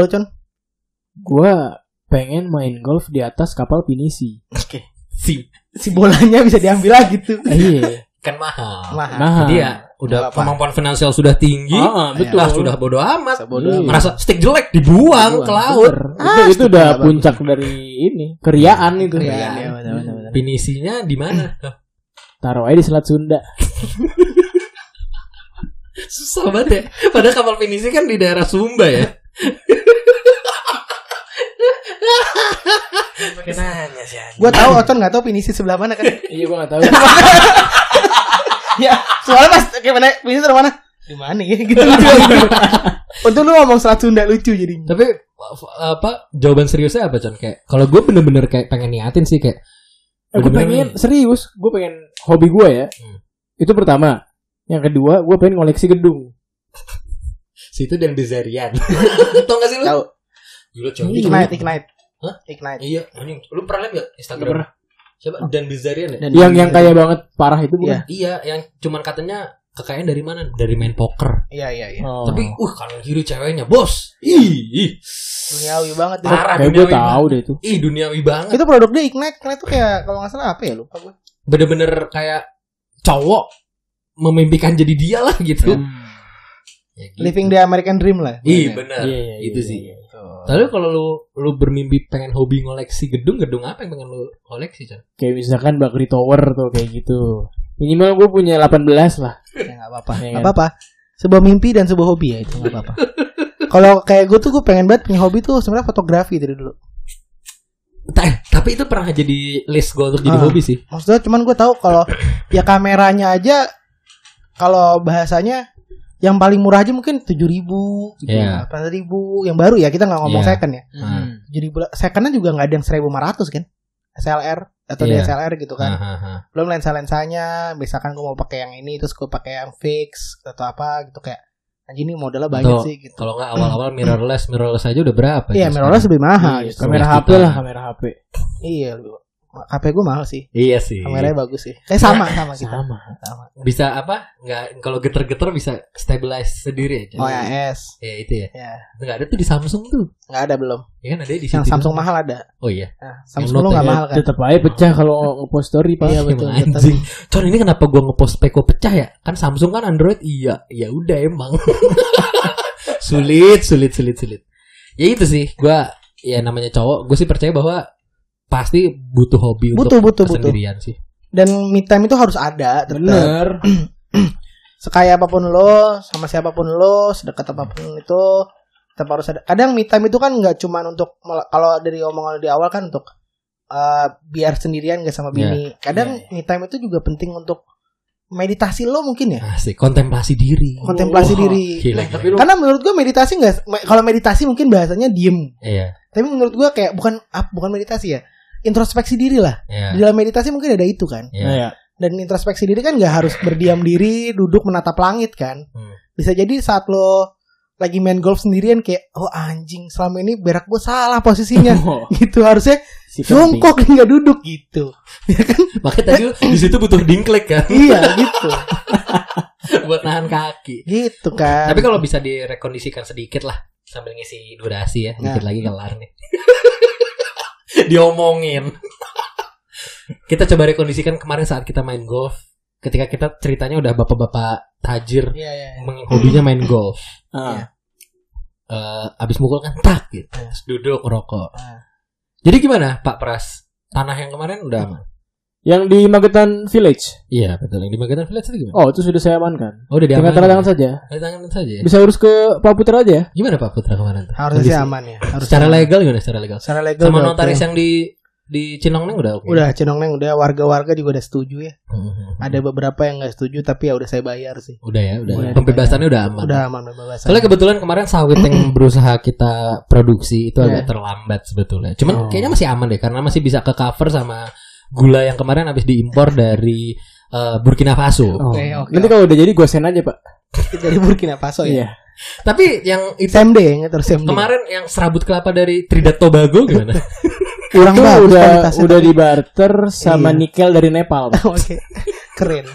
[SPEAKER 1] Kalau lu Con?
[SPEAKER 3] Gua pengen main golf di atas kapal pinisi.
[SPEAKER 2] Sih,
[SPEAKER 1] si bolanya bisa diambil lagi tuh.
[SPEAKER 3] Ah, Iya.
[SPEAKER 2] kan mahal.
[SPEAKER 1] Mahal.
[SPEAKER 3] Nah,
[SPEAKER 2] Jadi ya udah
[SPEAKER 1] Nggak apa-apa.
[SPEAKER 2] kemampuan finansial sudah tinggi. ya
[SPEAKER 3] Ah, betul.
[SPEAKER 2] Lah sudah bodo amat.
[SPEAKER 1] Sebodoh.
[SPEAKER 3] Iya.
[SPEAKER 2] Merasa stick jelek dibuang
[SPEAKER 3] Buang,
[SPEAKER 2] ke laut.
[SPEAKER 3] bener.
[SPEAKER 1] Ah,
[SPEAKER 3] itu, itu udah
[SPEAKER 1] setuju,
[SPEAKER 3] puncak dari ini keriaan
[SPEAKER 1] Iya,
[SPEAKER 3] itu. Keriaan.
[SPEAKER 1] iya, benar, benar, benar.
[SPEAKER 2] Finisinya di mana? Loh,
[SPEAKER 3] Taruh aja di Selat Sunda.
[SPEAKER 2] Susah banget ya. Padahal kapal finisi kan di daerah Sumba ya. Kenanya sih.
[SPEAKER 1] Gua tahu Ocon nggak tahu pinisi sebelah mana kan.
[SPEAKER 3] Iya gua gak tahu.
[SPEAKER 1] ya, soalnya pas kayak mana pinisi sebelah mana? Di mana ya? gitu lucu. Untung lu ngomong selat Sunda lucu jadi.
[SPEAKER 2] Tapi f- apa jawaban seriusnya apa Con? Kayak kalau gue bener-bener kayak pengen niatin sih kayak
[SPEAKER 3] Gue
[SPEAKER 2] bener-bener
[SPEAKER 3] pengen serius, gue pengen hobi gue ya.
[SPEAKER 2] Hmm.
[SPEAKER 3] Itu pertama. Yang kedua, gue pengen koleksi gedung.
[SPEAKER 2] situ dan Bezarian. Tau gak sih lu?
[SPEAKER 1] Tahu.
[SPEAKER 2] Gila Con.
[SPEAKER 1] Ignite, ignite.
[SPEAKER 2] Hah?
[SPEAKER 1] Ignite.
[SPEAKER 2] Iya, anjing. Lu pernah liat gak Instagram?
[SPEAKER 3] Nggak pernah.
[SPEAKER 2] Siapa? Dan Bezarian ya?
[SPEAKER 1] Dan-
[SPEAKER 3] Yang yang kaya banget parah itu
[SPEAKER 1] Iya.
[SPEAKER 3] bukan?
[SPEAKER 2] Iya, yang cuman katanya kekayaan dari mana? Dari main poker.
[SPEAKER 1] Iya, iya, iya.
[SPEAKER 3] Oh.
[SPEAKER 2] Tapi uh kanan kiri ceweknya, bos. Ih. ih.
[SPEAKER 1] Duniawi banget tuh.
[SPEAKER 2] Parah
[SPEAKER 3] kayak gue
[SPEAKER 2] duniawi
[SPEAKER 3] tahu deh itu.
[SPEAKER 2] banget. Ih, duniawi banget.
[SPEAKER 1] Itu produk dia Ignite, Ignite tuh kayak kalau nggak salah apa ya lupa gue.
[SPEAKER 2] Bener-bener kayak cowok memimpikan jadi dia lah gitu. Ya, gitu.
[SPEAKER 1] Living the American Dream lah.
[SPEAKER 2] Ih, bener.
[SPEAKER 3] Iya. Iya, iya,
[SPEAKER 2] Gitu
[SPEAKER 3] iya,
[SPEAKER 2] sih.
[SPEAKER 3] iya.
[SPEAKER 2] Lalu kalau lu lu bermimpi pengen hobi ngoleksi gedung, gedung apa yang pengen lu koleksi, Chan?
[SPEAKER 3] Kayak misalkan Bakri Tower tuh kayak gitu. Minimal gue punya 18 lah.
[SPEAKER 1] Ya nggak apa-apa.
[SPEAKER 3] Iya,
[SPEAKER 1] Nggak
[SPEAKER 3] kan?
[SPEAKER 1] apa-apa. Sebuah mimpi dan sebuah hobi ya itu nggak apa-apa. Kalau kayak gue tuh gue pengen banget punya hobi tuh sebenarnya fotografi dari dulu.
[SPEAKER 2] Ta- eh, tapi itu pernah jadi list gue untuk jadi
[SPEAKER 1] Ah.
[SPEAKER 2] hobi sih.
[SPEAKER 1] Maksudnya cuman gue tahu kalau ya kameranya aja kalau bahasanya yang paling murah aja mungkin tujuh ribu, gitu.
[SPEAKER 2] Iya.
[SPEAKER 1] ribu, yang baru ya kita nggak ngomong
[SPEAKER 2] Iya.
[SPEAKER 1] second ya. Jadi secondnya juga nggak ada yang 1500 kan? SLR atau
[SPEAKER 2] Iya.
[SPEAKER 1] DSLR gitu kan?
[SPEAKER 2] Ah, ah, ah.
[SPEAKER 1] belum lensa lensanya misalkan gue mau pakai yang ini terus gue pakai yang fix atau apa gitu kayak anjing ini modelnya banyak
[SPEAKER 2] Atau
[SPEAKER 1] sih gitu
[SPEAKER 2] Kalau nggak awal-awal mirrorless, mirrorless aja udah berapa?
[SPEAKER 1] iya
[SPEAKER 2] Jess?
[SPEAKER 1] mirrorless lebih mahal
[SPEAKER 3] Iya,
[SPEAKER 1] justru.
[SPEAKER 3] kamera
[SPEAKER 2] Sebelas
[SPEAKER 3] HP
[SPEAKER 2] juta.
[SPEAKER 3] lah, kamera HP.
[SPEAKER 1] iya lu HP gue mahal sih
[SPEAKER 2] Iya sih.
[SPEAKER 1] kameranya bagus sih kayak sama sama kita
[SPEAKER 3] Sama.
[SPEAKER 2] Bisa apa? Nggak kalau geter-geter bisa stabilize sendiri aja.
[SPEAKER 1] oh ya S
[SPEAKER 2] Ya itu ya.
[SPEAKER 1] ya
[SPEAKER 2] Nggak ada tuh di Samsung tuh.
[SPEAKER 1] nggak ada belum
[SPEAKER 2] Ya kan ada di
[SPEAKER 1] yang
[SPEAKER 2] situ.
[SPEAKER 1] Samsung mahal ada
[SPEAKER 2] Oh iya.
[SPEAKER 1] nah,
[SPEAKER 2] Yang
[SPEAKER 1] Samsung
[SPEAKER 2] Note
[SPEAKER 1] lu nggak
[SPEAKER 2] ya,
[SPEAKER 1] mahal kan
[SPEAKER 3] Tetep aja pecah kalau ngepost story pak.
[SPEAKER 1] Iya, betul.
[SPEAKER 2] Emang anjing. Con ini kenapa gua ngepost peko pecah ya? Kan Samsung kan Android. Iya, ya udah emang. sulit, sulit, sulit, sulit. Ya itu sih, gua ya namanya cowok, gue sih percaya bahwa pasti butuh hobi
[SPEAKER 1] butuh
[SPEAKER 2] untuk
[SPEAKER 1] butuh butuh
[SPEAKER 2] kesendirian sih.
[SPEAKER 1] dan me time itu harus ada tetap
[SPEAKER 3] Bener.
[SPEAKER 1] sekaya apapun lo sama siapapun lo sedekat apapun itu tetap harus ada kadang me time itu kan nggak cuman untuk mel- kalau dari omongan di awal kan untuk eh, biar sendirian gak sama bini kadang
[SPEAKER 3] Iya,
[SPEAKER 1] me time itu juga penting untuk meditasi lo mungkin ya
[SPEAKER 2] Asik, kontemplasi diri.
[SPEAKER 1] kontemplasi
[SPEAKER 3] Wah,
[SPEAKER 1] diri
[SPEAKER 2] Gila,
[SPEAKER 3] Tapi lu
[SPEAKER 1] karena menurut gue meditasi nggak me- kalau meditasi mungkin bahasanya diem
[SPEAKER 2] Iya,
[SPEAKER 1] tapi menurut gue kayak bukan ap- bukan meditasi ya introspeksi diri lah
[SPEAKER 2] iya.
[SPEAKER 1] di dalam meditasi mungkin ada itu kan
[SPEAKER 2] iya.
[SPEAKER 3] Iya.
[SPEAKER 1] dan introspeksi diri kan nggak harus berdiam diri duduk menatap langit kan
[SPEAKER 2] Hmm.
[SPEAKER 1] bisa jadi saat lo lagi main golf sendirian kayak oh anjing selama ini berak gue salah posisinya
[SPEAKER 3] Oh,
[SPEAKER 1] gitu harusnya
[SPEAKER 3] si penting.
[SPEAKER 1] jongkok nggak duduk gitu
[SPEAKER 2] Makanya tadi lu di situ butuh dingklek kan.
[SPEAKER 1] iya gitu
[SPEAKER 2] ya, buat nahan kaki.
[SPEAKER 1] gitu kan
[SPEAKER 2] Tapi kalau bisa direkondisikan sedikit lah sambil ngisi durasi ya, dikit lagi kelar nih. Diomongin. kita coba rekondisikan kemarin saat kita main golf, ketika kita ceritanya udah bapak-bapak tajir
[SPEAKER 1] Iya, iya, iya.
[SPEAKER 2] meng- hobinya main golf.
[SPEAKER 3] Ah,
[SPEAKER 2] Eh, abis mukul kan tak gitu, Terus duduk rokok.
[SPEAKER 1] Ah.
[SPEAKER 2] Jadi gimana Pak Pras? Tanah yang kemarin udah aman?
[SPEAKER 3] Yang di Magetan Village.
[SPEAKER 2] Iya betul. Yang di Magetan Village itu gimana?
[SPEAKER 3] Oh, itu sudah saya amankan.
[SPEAKER 2] Oh, udah
[SPEAKER 3] Tinggal
[SPEAKER 2] diamankan.
[SPEAKER 3] tanda tangan saja.
[SPEAKER 2] Tanda tangan saja. ya?
[SPEAKER 3] Bisa urus ke Pak Putra aja ya?
[SPEAKER 2] Gimana Pak Putra kemarin? tuh?
[SPEAKER 1] harusnya sih
[SPEAKER 2] Kondisi-
[SPEAKER 1] aman ya harus
[SPEAKER 2] Secara legal gimana secara legal?
[SPEAKER 1] secara legal
[SPEAKER 2] Sama
[SPEAKER 1] udah
[SPEAKER 2] notaris
[SPEAKER 1] oke.
[SPEAKER 2] yang di di Cinongneng udah oke.
[SPEAKER 1] udah cenong neng udah warga-warga juga udah setuju ya
[SPEAKER 2] Mhm.
[SPEAKER 1] ada beberapa yang nggak setuju tapi ya udah saya bayar sih
[SPEAKER 2] Udah ya, udah.
[SPEAKER 1] Udah.
[SPEAKER 2] Pembebasannya udah aman.
[SPEAKER 1] udah aman bebas
[SPEAKER 2] Soalnya kebetulan kemarin sawit yang berusaha kita produksi itu
[SPEAKER 1] Iya.
[SPEAKER 2] agak
[SPEAKER 1] Oh.
[SPEAKER 2] terlambat sebetulnya. Cuman kayaknya masih aman deh karena masih bisa ke cover sama gula yang kemarin habis diimpor dari eh, Burkina Faso.
[SPEAKER 1] Oke, oke.
[SPEAKER 3] Nanti kalau udah jadi gue send aja, Pak.
[SPEAKER 1] dari Burkina Faso ya
[SPEAKER 3] Oh. Iya.
[SPEAKER 2] Tapi yang itu
[SPEAKER 1] SMD ya terus SMD
[SPEAKER 2] kemarin yang serabut kelapa dari Trinidad Tobago gimana?
[SPEAKER 1] kurang
[SPEAKER 3] Itu
[SPEAKER 1] bagus
[SPEAKER 3] udah
[SPEAKER 1] kualitasnya
[SPEAKER 3] udah
[SPEAKER 1] tapi-
[SPEAKER 3] dibarter sama
[SPEAKER 1] Iya.
[SPEAKER 3] nikel dari Nepal, Pak.
[SPEAKER 1] oke keren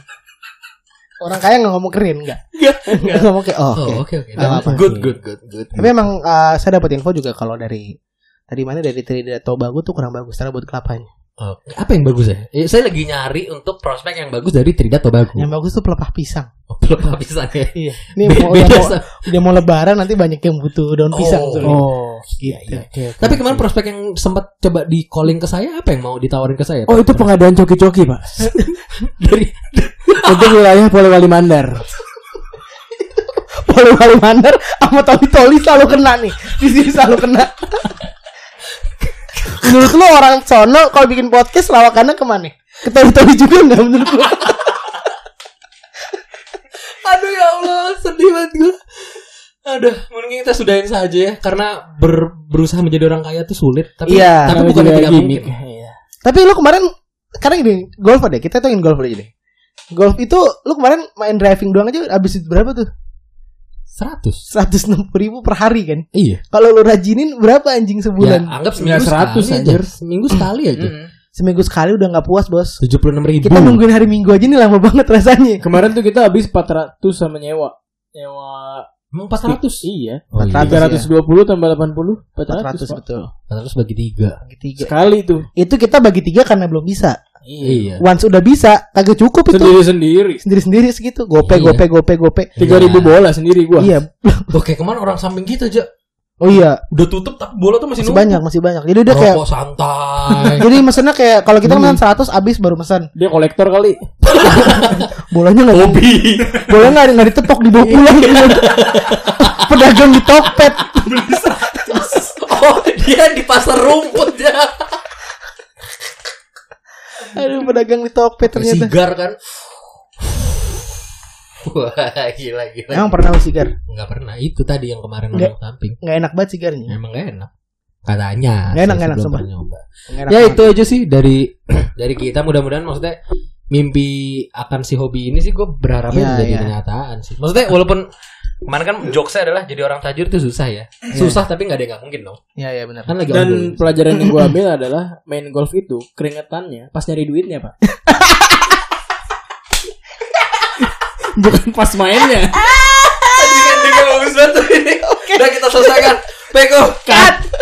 [SPEAKER 1] orang kaya nggak ngomong keren nggak
[SPEAKER 2] Enggak.
[SPEAKER 1] nggak ngomong kayak oh, oke
[SPEAKER 2] Oh, oke oke.
[SPEAKER 1] Nggak apa-apa.
[SPEAKER 2] Good good good good.
[SPEAKER 1] tapi emang eh, saya dapat info juga kalau dari dari mana dari Trinidad Tobago tuh kurang bagus karena buat kelapanya
[SPEAKER 2] Oh, apa yang bagus ya? Eh, Saya lagi nyari untuk prospek yang bagus dari Trinidad Tobago.
[SPEAKER 1] yang bagus tuh pelepah pisang
[SPEAKER 2] Oh, Belum habis aja.
[SPEAKER 1] iya ini
[SPEAKER 2] Be-
[SPEAKER 1] mau, udah
[SPEAKER 2] beda
[SPEAKER 1] mau,
[SPEAKER 2] sama-
[SPEAKER 1] udah mau lebaran nanti banyak yang butuh daun pisang
[SPEAKER 2] Oh.
[SPEAKER 1] soalnya.
[SPEAKER 3] Oh.
[SPEAKER 2] Iya,
[SPEAKER 1] gitu
[SPEAKER 2] iya.
[SPEAKER 1] Oke, oke.
[SPEAKER 2] Tapi kemarin prospek yang sempat coba di calling ke saya apa yang mau ditawarin ke saya?
[SPEAKER 3] Oh, itu pengadaan coki-coki, Pak.
[SPEAKER 2] dari
[SPEAKER 3] Untuk wilayah Polewali Mandar.
[SPEAKER 1] Polewali Mandar sama Toli Toli selalu kena nih. Di sini selalu kena. menurut lo orang sono kalau bikin podcast lawakannya kemana? Ke Toli Toli juga nggak menurut lo?
[SPEAKER 2] Aduh ya Allah, sedih banget gue. Aduh, mungkin kita sudahin saja ya karena ber- berusaha menjadi orang kaya tuh sulit, tapi
[SPEAKER 1] Iya,
[SPEAKER 2] tapi
[SPEAKER 3] Namanya
[SPEAKER 2] bukan
[SPEAKER 3] juga
[SPEAKER 2] tidak
[SPEAKER 3] gimmick.
[SPEAKER 2] mungkin.
[SPEAKER 3] Iya.
[SPEAKER 1] Tapi lo kemarin karena gini golf deh kita tungguin golf aja deh. Golf itu lo kemarin main driving doang aja habis berapa tuh?
[SPEAKER 2] 100.
[SPEAKER 1] 160 ribu per hari kan?
[SPEAKER 2] Iya.
[SPEAKER 1] Kalau lo rajinin berapa anjing
[SPEAKER 2] Ya,
[SPEAKER 1] sebulan?
[SPEAKER 2] anggap seminggu
[SPEAKER 3] Nggak 100
[SPEAKER 2] sekali aja.
[SPEAKER 3] anjir.
[SPEAKER 2] Seminggu sekali aja.
[SPEAKER 1] Seminggu sekali udah nggak puas bos.
[SPEAKER 2] 76 ribu.
[SPEAKER 1] Kita nungguin hari Minggu aja nih lama banget rasanya.
[SPEAKER 3] Kemarin tuh kita habis 400 sama nyewa. Nyewa
[SPEAKER 2] Emang 400.
[SPEAKER 3] Iya.
[SPEAKER 2] Oh, iya.
[SPEAKER 3] 320 tambah 80
[SPEAKER 1] 400
[SPEAKER 3] 400, Pak.
[SPEAKER 1] betul.
[SPEAKER 2] 400 bagi 3.
[SPEAKER 1] Bagi tiga.
[SPEAKER 3] Sekali tuh.
[SPEAKER 1] Itu kita bagi tiga karena belum bisa.
[SPEAKER 2] Iya.
[SPEAKER 1] Once udah bisa, kagak cukup itu.
[SPEAKER 3] Sendiri-sendiri.
[SPEAKER 1] Sendiri-sendiri segitu. Gope,
[SPEAKER 2] Iya.
[SPEAKER 1] gope, gope, gope.
[SPEAKER 3] 3000 bola sendiri gua.
[SPEAKER 1] Iya.
[SPEAKER 2] Oke, kemarin orang samping kita aja
[SPEAKER 1] Oh iya,
[SPEAKER 2] udah tutup tapi bola tuh
[SPEAKER 1] masih
[SPEAKER 2] masih, numpuk.
[SPEAKER 1] banyak, masih banyak. Jadi udah kayak
[SPEAKER 2] Rokok santai.
[SPEAKER 1] jadi mesennya kayak kalau
[SPEAKER 2] Hmm.
[SPEAKER 1] kita pesan 100 abis baru pesan.
[SPEAKER 3] Dia kolektor kali.
[SPEAKER 1] Bolanya nggak
[SPEAKER 2] Hobi.
[SPEAKER 1] bolanya nggak nggak ditepok di bawah pulang. gitu. Pedagang di Tokped.
[SPEAKER 2] oh, dia di pasar rumput ya.
[SPEAKER 1] Aduh, pedagang di Tokped ternyata.
[SPEAKER 2] Sigar kan. Wah, gila gila.
[SPEAKER 1] Emang pernah lu sigar?
[SPEAKER 2] Enggak pernah. Itu tadi yang kemarin
[SPEAKER 1] Nggak.
[SPEAKER 2] orang samping.
[SPEAKER 1] Nggak enak banget sigarnya.
[SPEAKER 2] Emang gak enak. Katanya.
[SPEAKER 1] Nggak enak,
[SPEAKER 2] Saya
[SPEAKER 1] nggak enak,
[SPEAKER 2] sebelum
[SPEAKER 1] sumpah.
[SPEAKER 2] pernah nyoba.
[SPEAKER 1] Nggak enak
[SPEAKER 2] Ya
[SPEAKER 1] banget.
[SPEAKER 2] itu aja sih dari dari kita mudah-mudahan maksudnya mimpi akan si hobi ini sih gue berharapnya
[SPEAKER 1] Iya,
[SPEAKER 2] menjadi
[SPEAKER 1] iya.
[SPEAKER 2] kenyataan sih. Maksudnya walaupun kemarin kan jokesnya adalah jadi orang tajir itu susah ya.
[SPEAKER 1] Iya.
[SPEAKER 2] Susah tapi nggak ada yang nggak mungkin dong.
[SPEAKER 1] Ya ya benar.
[SPEAKER 2] Kan lagi ongoing.
[SPEAKER 3] Dan pelajaran yang gua ambil adalah main golf itu keringetannya pas nyari duitnya, Pak. Bukan pas mainnya.
[SPEAKER 2] Tadi kan dia nggak bagus banget tuh ini. Udah kita selesaikan. Peko, cut.